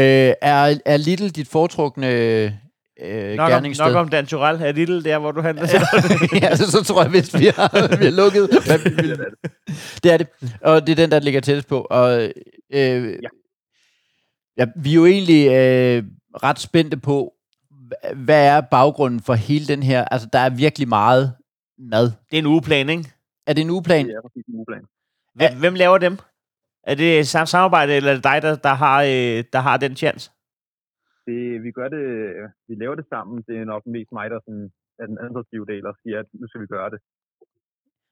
Speaker 2: Øh, er, er Little dit foretrukne øh,
Speaker 1: Nok om,
Speaker 2: gerningssted?
Speaker 1: nok om Dan Turell er lille der, hvor du handler.
Speaker 2: ja, så, så tror jeg, hvis vi har, vi har lukket. Hvad, vi,
Speaker 3: Ja,
Speaker 2: vil-
Speaker 3: det er det.
Speaker 2: det er det. Og det er den, der ligger tættest på. Og, øh, ja.
Speaker 3: Ja.
Speaker 2: ja. Vi er jo egentlig øh, ret spændte på, hva- hvad er baggrunden for hele den her... Altså, der er virkelig meget mad.
Speaker 1: Det er en ugeplan, ikke?
Speaker 2: Er det en ugeplan?
Speaker 3: Det er præcis en ugeplan.
Speaker 1: Hvem, hvem laver dem? Er det sam- samarbejde, eller er det dig, der, der, har, øh, der har den chance?
Speaker 3: det, vi gør det, vi laver det sammen. Det er nok mest mig, der sådan, er den administrative del og siger, at nu skal vi gøre det.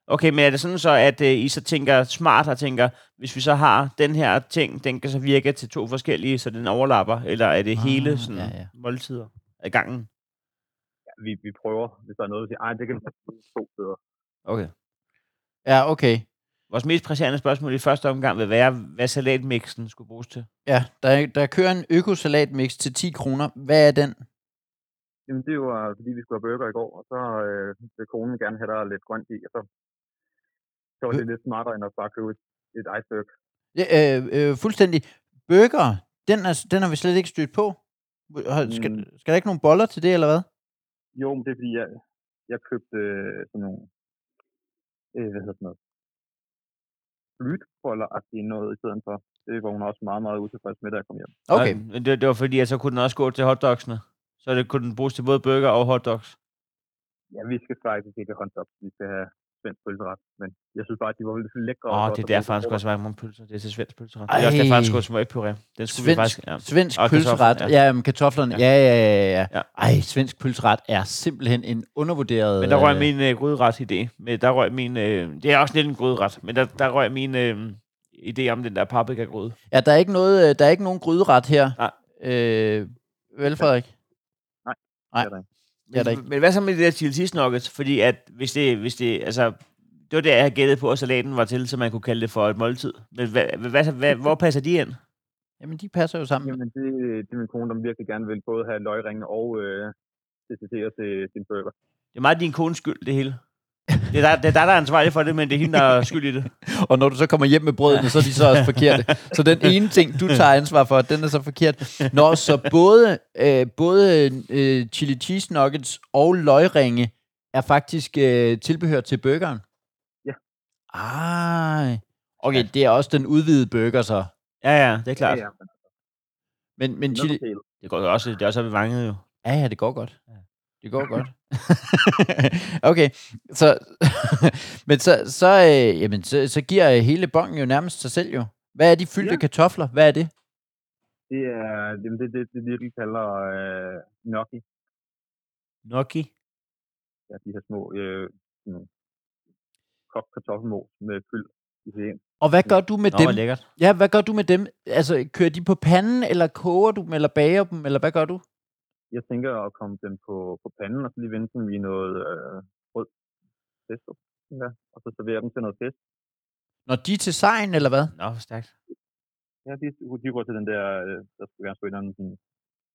Speaker 1: Okay, men er det sådan så, at øh, I så tænker smart og tænker, hvis vi så har den her ting, den kan så virke til to forskellige, så den overlapper? Eller er det
Speaker 2: Ah,
Speaker 1: hele sådan
Speaker 2: ja,
Speaker 1: ja,
Speaker 2: ja.
Speaker 1: ja. måltider af gangen?
Speaker 3: Ja, vi, vi prøver, hvis der er noget, vi siger, ej, det kan vi bruge to steder.
Speaker 1: Okay.
Speaker 2: Ja, okay.
Speaker 1: Vores mest presserende spørgsmål i første omgang vil være, hvad salatmixen skulle bruges til.
Speaker 2: Ja, der, der kører en økosalatmix til 10 kroner. Hvad er den?
Speaker 3: Jamen, det var, fordi vi skulle have burger i går, og så øh, ville konen gerne have der er lidt grønt i, og så, så var det lidt smartere, end at bare købe et, et iceberg.
Speaker 2: Ja, øh, øh, fuldstændig. Burger, den, er, den har vi slet ikke stødt på. Har- Skal,
Speaker 3: Mm.
Speaker 2: skal der ikke nogen boller til det, eller hvad?
Speaker 3: Jo, men det er fordi, jeg, jeg købte øh, sådan nogle, øh, hvad hedder sådan noget, flytboller noget i stedet for. Det var hun også meget, meget utilfreds med, da jeg kom hjem.
Speaker 2: Okay.
Speaker 1: Og, men det, det var fordi, at så kunne den også gå til hotdogsene. Så det, kunne den bruges til både burger og hotdogs.
Speaker 3: Ja, vi skal faktisk ikke have hånds op. Vi skal have svensk pølseret. Men jeg synes bare, at de var lidt lækre.
Speaker 1: Åh,
Speaker 3: og
Speaker 1: oh,
Speaker 3: godt
Speaker 1: det er
Speaker 3: at
Speaker 1: derfor,
Speaker 3: bruge
Speaker 1: han
Speaker 3: til
Speaker 1: skulle have
Speaker 3: frokost.
Speaker 1: så mange pølser. Det er til svensk pølser. Det er også derfor,
Speaker 2: Ej.
Speaker 1: han skulle have smørpuré. Den skulle vi
Speaker 2: Svensk-
Speaker 1: faktisk... Ja.
Speaker 2: Svensk
Speaker 1: Og
Speaker 2: pølseret.
Speaker 1: kartofler,
Speaker 2: Ja. ja, men kartoflerne. Ja,
Speaker 1: Ja.
Speaker 2: ja, ja, ja. ja.
Speaker 1: Ja.
Speaker 2: Ej, svensk pølseret er simpelthen en undervurderet...
Speaker 1: Men der røg
Speaker 2: øh,
Speaker 1: min øh, gryderet-idé. Men der røg min... Øh, det er også lidt en gryderet, men der, der røg min øh, idé om den der paprikagryde.
Speaker 2: Ja, der er ikke, noget, øh, der er ikke nogen gryderet her.
Speaker 1: Nej.
Speaker 2: Øh, vel, Frederik?
Speaker 3: Nej,
Speaker 2: Nej,
Speaker 3: det er der
Speaker 2: det er der ikke.
Speaker 1: Men, men hvad så med det der chili cheese nuggets? Fordi at hvis det... Hvis det altså, det var det, jeg havde gættet på, at salaten var til, så man kunne kalde det for et måltid. Men hvad, hvad, hvad, hvad, hvor passer de ind?
Speaker 2: Jamen, de passer jo sammen.
Speaker 3: Jamen, det, det er min kone, der virkelig gerne vil både have løgringe og øh, DCT'er til sin burger.
Speaker 1: Det er meget din kones skyld, det hele. Det er, dig, det er dig, der er ansvarlig for det, men det er hende, der er skyld i det.
Speaker 2: Og når du så kommer hjem med brødene, så er de så også forkerte. Så den ene ting, du tager ansvar for, den er så forkert. Nå, så både, øh, både øh, chili cheese nuggets og løgringe er faktisk øh, tilbehør til burgeren?
Speaker 3: Ja.
Speaker 2: Ej. Okay, det er også den udvidede burger så.
Speaker 1: Ja, ja, det er klart.
Speaker 3: Ja, ja, men
Speaker 2: Men, men
Speaker 3: det er
Speaker 2: chili...
Speaker 3: lokalt.
Speaker 1: Det går jo også, det er også ved vanget jo.
Speaker 2: Ja, ja, det går godt. Det går godt. okay, så, men så, så, øh, jamen, så, så giver øh, hele bongen jo nærmest sig selv jo. Hvad er de fyldte ja.
Speaker 3: Ja.
Speaker 2: kartofler? Hvad er det?
Speaker 3: Det er jamen, det, det, det, det, de kalder øh, gnocchi.
Speaker 1: Noki.
Speaker 3: Ja, de her små øh, sådan nogle kogt kartoffelmos med fyld i det ene.
Speaker 2: Og hvad gør du med
Speaker 1: Nå,
Speaker 2: dem?
Speaker 1: hvor lækkert.
Speaker 2: Ja, hvad gør du med dem? Altså, kører de på panden, eller koger du dem, eller bager dem, eller hvad gør du?
Speaker 3: Jeg tænker at komme dem på, på panden, og så lige vende dem i noget øh, rød pesto. Ja, og så servere dem til noget fisk.
Speaker 2: Når de er til sejen, eller hvad?
Speaker 1: Nå, hvor stærkt.
Speaker 3: Ja, de, de går til den der, øh, der skulle gerne spille en sådan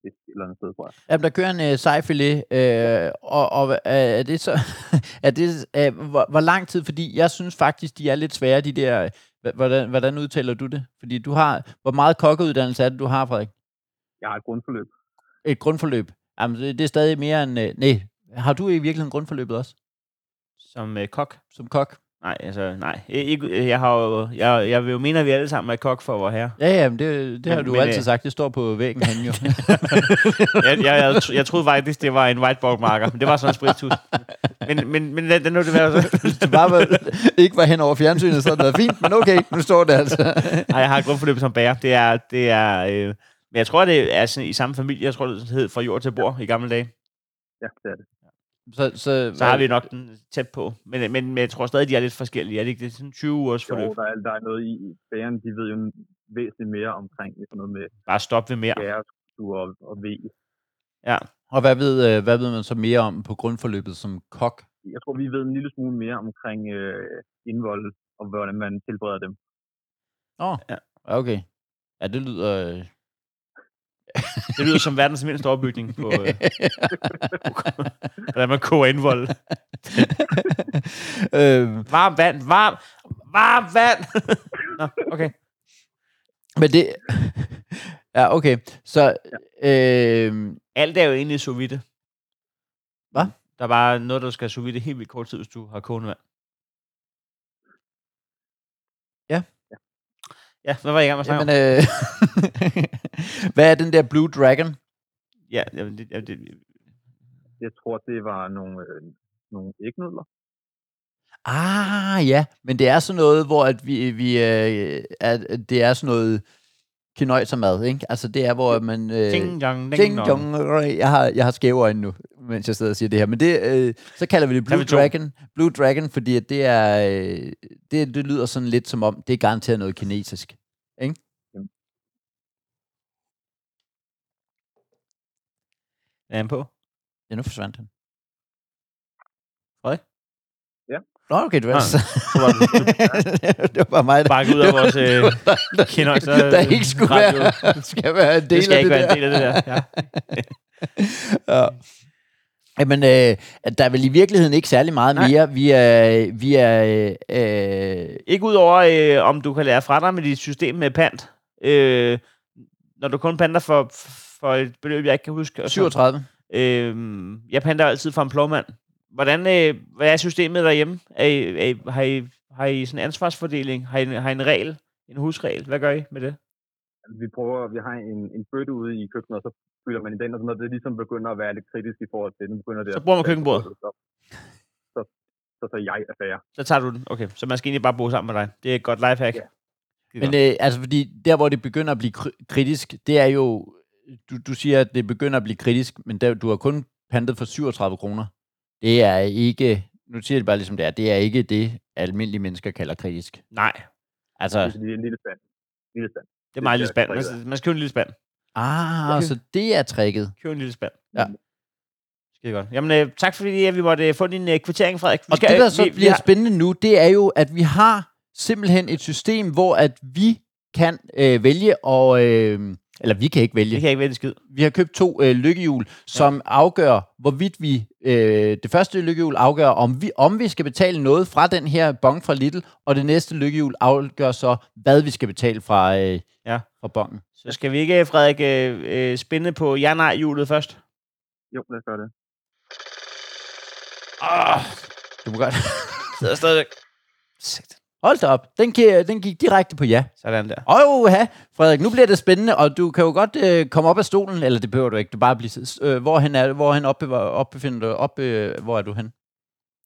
Speaker 3: et eller andet sted, tror jeg.
Speaker 2: Jamen, der kører en øh, sejfilet, øh, og, og øh, er det så... er det, øh, hvor, hvor lang tid? Fordi jeg synes faktisk, de er lidt svære, de der... øh, Hvordan, hvordan udtaler du det? Fordi du har... Hvor meget kokkeuddannelse er det, du har, Frederik?
Speaker 3: Jeg har et grundforløb.
Speaker 2: Et grundforløb. Jamen, det det er stadig mere end... Øh, nej, har du i virkeligheden grundforløbet også?
Speaker 1: Som øh, kok.
Speaker 2: Som kok?
Speaker 1: Nej, altså, nej. I- Ikke, jeg, har jo, jeg, jeg vil jo mene, at vi alle sammen er kok for vor herre.
Speaker 2: Ja, ja, men det, det har
Speaker 1: Men-
Speaker 2: du
Speaker 1: men,
Speaker 2: altid
Speaker 1: øh,
Speaker 2: sagt. Det står på væggen henne jo.
Speaker 1: Jeg, jeg, jeg, tro- jeg troede faktisk, det var en whiteboard-marker, men det var sådan en spritus. Men, men, men den, den nu det være så.
Speaker 2: Hvis det bare var, ikke var hen over fjernsynet, så havde det været fint. Men okay, nu står det altså.
Speaker 1: Nej, jeg har et grundforløb som bærer. Det er, det er, øh, men jeg tror, det er sådan, i samme familie. Jeg tror, det hed fra jord til bord i gamle dage.
Speaker 3: Ja, det er det.
Speaker 2: Så, så,
Speaker 1: Så har vi nok den tæt på. Men, men, men jeg tror stadig, de er lidt forskellige. Er det ikke det? Sådan 20 ugers
Speaker 3: Jo,
Speaker 1: forløb.
Speaker 3: der er, der er noget i, bærerne, de ved jo væsentligt mere omkring sådan noget med
Speaker 1: Bare stop ved mere.
Speaker 3: gærestruktur og, og ved.
Speaker 2: Og hvad ved, øh, hvad ved man så mere om på grundforløbet som kok?
Speaker 3: Jeg tror, vi ved en lille smule mere omkring øh, indvold og hvordan man tilbereder dem.
Speaker 2: Åh, oh,
Speaker 1: Ja.
Speaker 2: ja. okay. Ja, det lyder... øh,
Speaker 1: Det lyder som verdens mindste overbygning på, øh, hvordan man koger indvold.
Speaker 2: øhm,
Speaker 1: Varm vand, varm, varm vand. Nå, okay.
Speaker 2: men det... ja, okay. Så... Øhm,
Speaker 1: Alt er jo egentlig sous vide.
Speaker 2: Hvad?
Speaker 1: Der er bare noget, der skal sous vide helt vildt kort tid, hvis du har kogende vand.
Speaker 2: Ja.
Speaker 1: Ja, hvad var jeg i gang med at snakke
Speaker 2: jamen, øh, hvad er den der Blue Dragon?
Speaker 1: om? Ja, jamen, det, jamen,
Speaker 2: øh,
Speaker 1: det,
Speaker 3: Jeg tror, det var nogle, øh, nogle ægnudler.
Speaker 2: Ah, ja. Men det er sådan noget, hvor at vi, vi øh, at at det er sådan noget kinøjsermad, ikke? Altså, det er, hvor man... Øh,
Speaker 1: ting, dong, ding,
Speaker 2: Ding
Speaker 1: dong.
Speaker 2: dong. Jeg har, jeg har skæve øjne nu, mens jeg sidder og siger det her. Men det, øh, så kalder vi det Blue
Speaker 1: vi to.
Speaker 2: Dragon. Blue Dragon, fordi at det, er, øh, det, det lyder sådan lidt som om, det er garanteret noget kinesisk. Ikke?
Speaker 1: Er han på?
Speaker 2: Ja, nu forsvandt han.
Speaker 1: Frederik?
Speaker 3: Ja.
Speaker 2: Nå, okay, det var,
Speaker 1: Nå,
Speaker 2: så.
Speaker 1: Så var det
Speaker 2: det var bare mig, der,
Speaker 1: bakket ud af vores øh, kinder. Så,
Speaker 2: der ikke skulle
Speaker 1: radio.
Speaker 2: være, skal være en del
Speaker 1: Det skal
Speaker 2: af
Speaker 1: ikke
Speaker 2: det
Speaker 1: være
Speaker 2: der.
Speaker 1: en del af det der. Ja.
Speaker 2: Ja. Jamen, øh, der er vel i virkeligheden ikke særlig meget
Speaker 1: Nej.
Speaker 2: mere. Vi er, vi er øh, øh,
Speaker 1: Ikke udover, øh, om du kan lære fra dig med dit system med pant. Øh, når du kun panter for, for et beløb, jeg ikke kan huske. og så-
Speaker 2: 37.
Speaker 1: Øh, jeg panter altid for en plovmand. Hvordan, øh, hvad er systemet derhjemme? Er I, er I, har, I, har I sådan en ansvarsfordeling? Har I, en- har I en regel? En husregel? Hvad gør I med det?
Speaker 3: Altså, Vi prøver, vi har en, en bøtte ude i køkkenet, og så fylder man i den, og så når det ligesom begynder at være lidt kritisk i forhold til den, begynder det
Speaker 1: Så
Speaker 3: at-
Speaker 1: bruger man køkkenbordet.
Speaker 3: Så, så, så, så jeg er færre.
Speaker 1: Så tager du den. Okay, så man skal egentlig bare bo sammen med dig. Det er et godt lifehack.
Speaker 3: Ja.
Speaker 2: Men øh, altså, fordi der, hvor det begynder at blive kri- kritisk, det er jo... Du, du siger, at det begynder at blive kritisk, men der, du har kun pantet for 37 kroner. Det er ikke... Nu siger jeg det bare ligesom det er. Det er ikke det, almindelige mennesker kalder kritisk.
Speaker 1: Nej,
Speaker 2: Altså,
Speaker 3: Det er fordi, det er en lille spand. Lille spand.
Speaker 1: det er meget lille
Speaker 3: Det
Speaker 1: spand.
Speaker 3: skal
Speaker 1: Man,
Speaker 3: jeg
Speaker 1: skal- man skal købe en lille spand.
Speaker 2: ah, så det er tricket.
Speaker 1: Køb en lille spand.
Speaker 2: Ja.
Speaker 1: Skide godt. Jamen, øh, tak fordi at vi måtte øh, få din øh, kvittering, Frederik. Vi
Speaker 2: Og det, der så
Speaker 1: vi, vi
Speaker 2: bliver
Speaker 1: har,
Speaker 2: spændende nu, det er jo, at vi har simpelthen et system, hvor at vi kan øh, vælge og... Øh, eller vi kan ikke vælge.
Speaker 1: det kan jeg ikke vælge en skid.
Speaker 2: vi har købt to øh, lykkehjul, som afgør, hvorvidt vi... Øh, det første lykkehjul afgør, om vi, om vi skal betale noget fra den her bong fra Little, og det næste lykkehjul afgør så, hvad vi skal betale fra, øh,
Speaker 1: Ja.
Speaker 2: fra bongen.
Speaker 1: Så skal vi ikke, Frederik, øh, øh, spænde på ja-nej-hjulet først?
Speaker 3: Jo, lad os gøre det.
Speaker 1: Åh,
Speaker 2: Du må godt...
Speaker 1: sidder jeg stadigvæk. Sigt.
Speaker 2: Hold da op. Den, gik, den gik direkte på ja.
Speaker 1: Sådan der.
Speaker 2: Åh, ja, Frederik, nu bliver det spændende, og du kan jo godt øh, komme op af stolen, eller det behøver du ikke, du bare bliver... sidd- Øh, hvorhen er hvorhen opbevar, opbefinder du op, øh, hvor er du hen?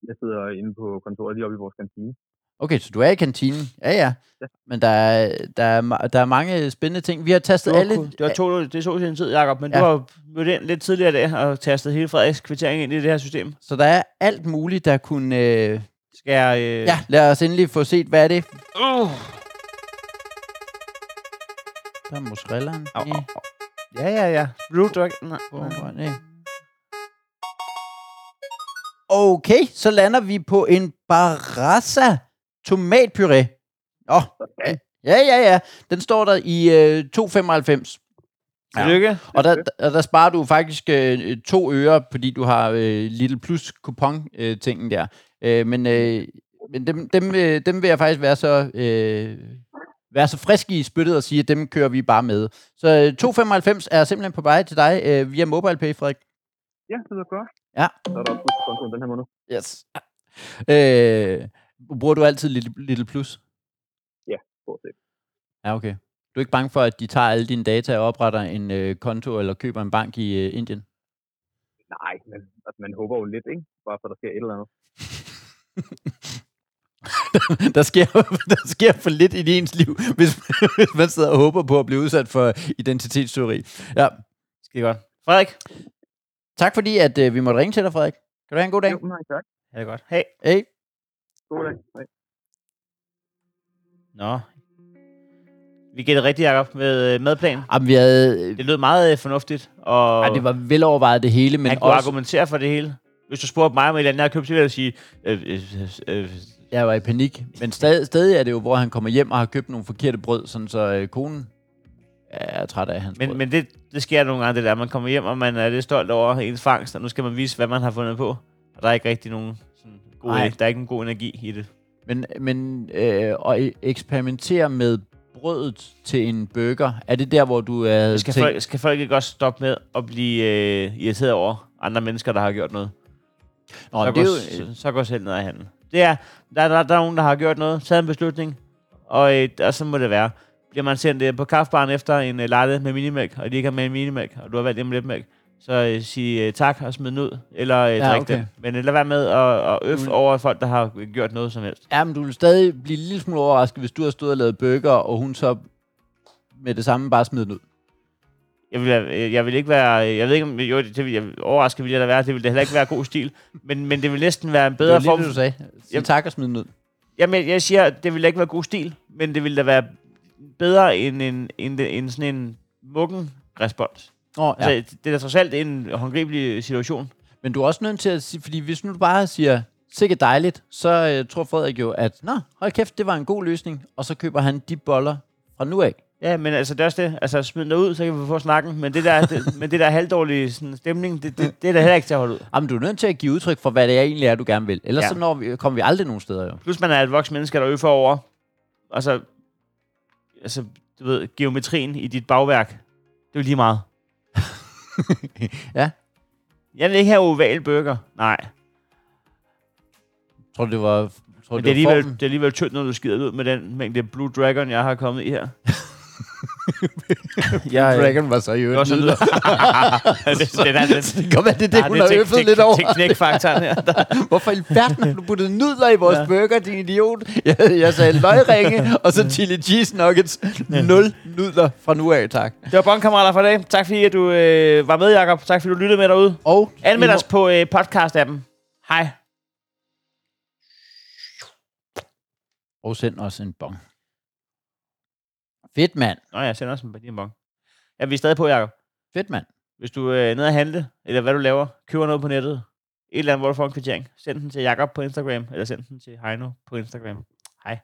Speaker 3: Jeg sidder inde på kontoret lige oppe i vores kantine.
Speaker 2: Okay, så du er i kantinen. Ja, ja.
Speaker 3: Ja.
Speaker 2: Men der er, der, er, ma- der er mange spændende ting. Vi har
Speaker 1: Det
Speaker 2: tastet
Speaker 1: var,
Speaker 2: alle...
Speaker 1: cool. det, var to, det så sin tid, Jacob, men ja.
Speaker 2: Ja.
Speaker 1: du har mødt ind lidt tidligere i dag og tastet hele Frederiks kvittering ind i det her system.
Speaker 2: Så der er alt muligt, der kunne... Øh...
Speaker 1: Skal jeg... Øh,
Speaker 2: Ja, lad os endelig få set, hvad er det?
Speaker 1: Uh,
Speaker 2: Der er mozzarellaen.
Speaker 1: Au, au,
Speaker 2: i.
Speaker 1: ja, ja, ja. Blue Dog. Nej, nej.
Speaker 2: Hvor er det? Okay, så lander vi på en barassa tomatpuré. Åh, ja, ja, ja. Den står der i øh, 2,95.
Speaker 1: Tillykke.
Speaker 2: Og der, der, der sparer du faktisk øh, to øre, fordi du har øh, Little Plus kupon øh, tingen der. Øh, men øh, men dem, dem, øh, dem vil jeg faktisk være så, øh, være så frisk i spyttet og sige, at dem kører vi bare med. Så øh, 2,95 er simpelthen på vej til dig øh, via MobilePay, Frederik.
Speaker 3: Ja, det lyder godt.
Speaker 2: Ja.
Speaker 3: Så er der også på kontoen den her måned.
Speaker 2: Yes. Øh, Bruger du altid Little, little Plus?
Speaker 3: stort set.
Speaker 2: Ja, okay. Du er ikke bange for, at de tager alle dine data og opretter en øh, konto eller køber en bank i øh, Indien?
Speaker 3: Nej, men altså, man håber jo lidt, ikke? Bare for, der sker et eller andet.
Speaker 2: der, sker, der sker for lidt i ens liv, hvis, hvis man sidder og håber på at blive udsat for identitetsteori. Ja.
Speaker 1: Skide godt. Frederik,
Speaker 2: Tak fordi, at øh, vi måtte ringe til dig, Frederik. Kan du have en god dag?
Speaker 3: Jo, nej, tak.
Speaker 1: ha' det godt. Hej.
Speaker 2: Hey.
Speaker 3: God dag. Hej.
Speaker 1: Nå. Vi gætter rigtigt, Jacob, med øh, madplanen.
Speaker 2: Jamen, vi havde...
Speaker 1: Det lød meget øh, fornuftigt, og
Speaker 2: Ej, det var velovervejet det hele, men
Speaker 1: han kunne
Speaker 2: også,
Speaker 1: argumentere for det hele. Hvis du spurgte mig om et eller andet, jeg har købt, så ville jeg sige, øh, øh, øh,
Speaker 2: jeg var i panik. Men stadig, stadig er det jo, hvor han kommer hjem og har købt nogle forkerte brød, sådan så øh, konen er træt af hans brød.
Speaker 1: men, men det, det sker nogle gange, det der. Man kommer hjem, og man er lidt stolt over ens fangst, og nu skal man vise, hvad man har fundet på. Og der er ikke rigtig nogen sådan, god,
Speaker 2: Nej.
Speaker 1: der er ikke nogen god energi i det.
Speaker 2: Men, men øh, at e- eksperimentere med brødet til en burger, er det der, hvor du er...
Speaker 1: Skal folk, skal folk ikke også stoppe med at blive øh, irriteret over andre mennesker, der har gjort noget? så,
Speaker 2: Nå, det er
Speaker 1: går,
Speaker 2: jo,
Speaker 1: øh, så, så går selv ned ad handen. Det er, der, der, der er nogen, der har gjort noget, taget en beslutning, og, øh, og så må det være. Bliver man sendt øh, på kaffebaren efter en øh, latte med minimælk, og de ikke har med en minimælk, og du har valgt en med letmælk, så øh, sig øh, tak og smid den ud, eller øh,
Speaker 2: Ja,
Speaker 1: ja, drik
Speaker 2: okay.
Speaker 1: okay. den. Men øh, lad være med at, at øffe
Speaker 2: Mm.
Speaker 1: over folk, der har øh, gjort noget som helst.
Speaker 2: Ja, men du vil stadig blive en lille smule overrasket, hvis du har stået og lavet burger, og hun så med det samme bare smider den ud.
Speaker 1: Jeg vil, øh, jeg vil ikke være... Jeg ved ikke, om... Jo, det, det vil, jeg, overrasket vil jeg da være. Det vil da heller ikke være god stil. Men, men det vil næsten være en
Speaker 2: Det var
Speaker 1: bedre
Speaker 2: lige
Speaker 1: form...
Speaker 2: det, du sagde. Sige
Speaker 1: Jamen-
Speaker 2: tak og smid den ud.
Speaker 1: Jamen, jeg siger, at det ville da ikke være god stil, men det ville da være bedre end, en, end, end sådan en muggen respons.
Speaker 2: Nå,
Speaker 1: Ja.
Speaker 2: ja.
Speaker 1: Altså, det er da trods alt en håndgribelig situation.
Speaker 2: Men du er også nødt til at sige, fordi hvis nu du bare siger, sikkert dejligt, så øh, tror Frederik jo, at nå, hold kæft, det var en god løsning, og så køber han de boller fra nu af.
Speaker 1: Ja, men altså, det er også det. Altså, smid dig ud, så kan vi få snakken. Men det der, det, men det der halvdårlige sådan, stemning, det, det, det, er da heller ikke til at holde ud.
Speaker 2: Jamen, du er nødt til at give udtryk for, hvad det er, egentlig er, du gerne vil. Ellers ja.
Speaker 1: Ja.
Speaker 2: så når vi, kommer vi aldrig nogen steder, jo.
Speaker 1: Plus, man er et voksen menneske, der øffer over. Altså, altså, du ved, geometrien i dit bagværk, det er jo lige meget.
Speaker 2: Ja.
Speaker 1: Jeg vil ikke have oval burger. Nej.
Speaker 2: Tror du, det var... Tror,
Speaker 1: Men det
Speaker 2: du,
Speaker 1: er,
Speaker 2: det var
Speaker 1: alligevel,
Speaker 2: formen?
Speaker 1: det er alligevel tyndt, når du skider ud med den mængde Blue Dragon, jeg har kommet i her. jeg, øh,
Speaker 2: Dragon var så i
Speaker 1: det var
Speaker 2: øvrigt
Speaker 1: sådan
Speaker 2: nydelig.
Speaker 1: noget. det, det, er-
Speaker 2: Så
Speaker 1: det,
Speaker 2: det kan være, det er det,
Speaker 1: ah,
Speaker 2: hun har
Speaker 1: tek-
Speaker 2: øffet
Speaker 1: tek-
Speaker 2: lidt over.
Speaker 1: tek- Teknikfaktoren her. Der,
Speaker 2: Hvorfor i verden har du puttet nudler i vores ja.
Speaker 1: Ja.
Speaker 2: burger, din idiot? Jeg, jeg sagde løgringe, og så chili cheese nuggets. Nul nudler fra nu af, tak.
Speaker 1: det var bondkammerater for i dag. Tak fordi at du øh, var med, Jacob. Tak fordi du lyttede med derude.
Speaker 2: Og
Speaker 1: Anmeld
Speaker 2: I
Speaker 1: os på øh, podcast-appen. Hej.
Speaker 2: må- Og send os en bong. Fedt, mand.
Speaker 1: Nå ja, send os en din bong. Ja, vi er stadig på, Jacob.
Speaker 2: Fedt, mand.
Speaker 1: Hvis du øh, er nede og handle, eller hvad du laver, køber noget på nettet, et eller andet, hvor du får en kvittering, send den til Jakob på Instagram, eller send den til Heino på Instagram. Hej.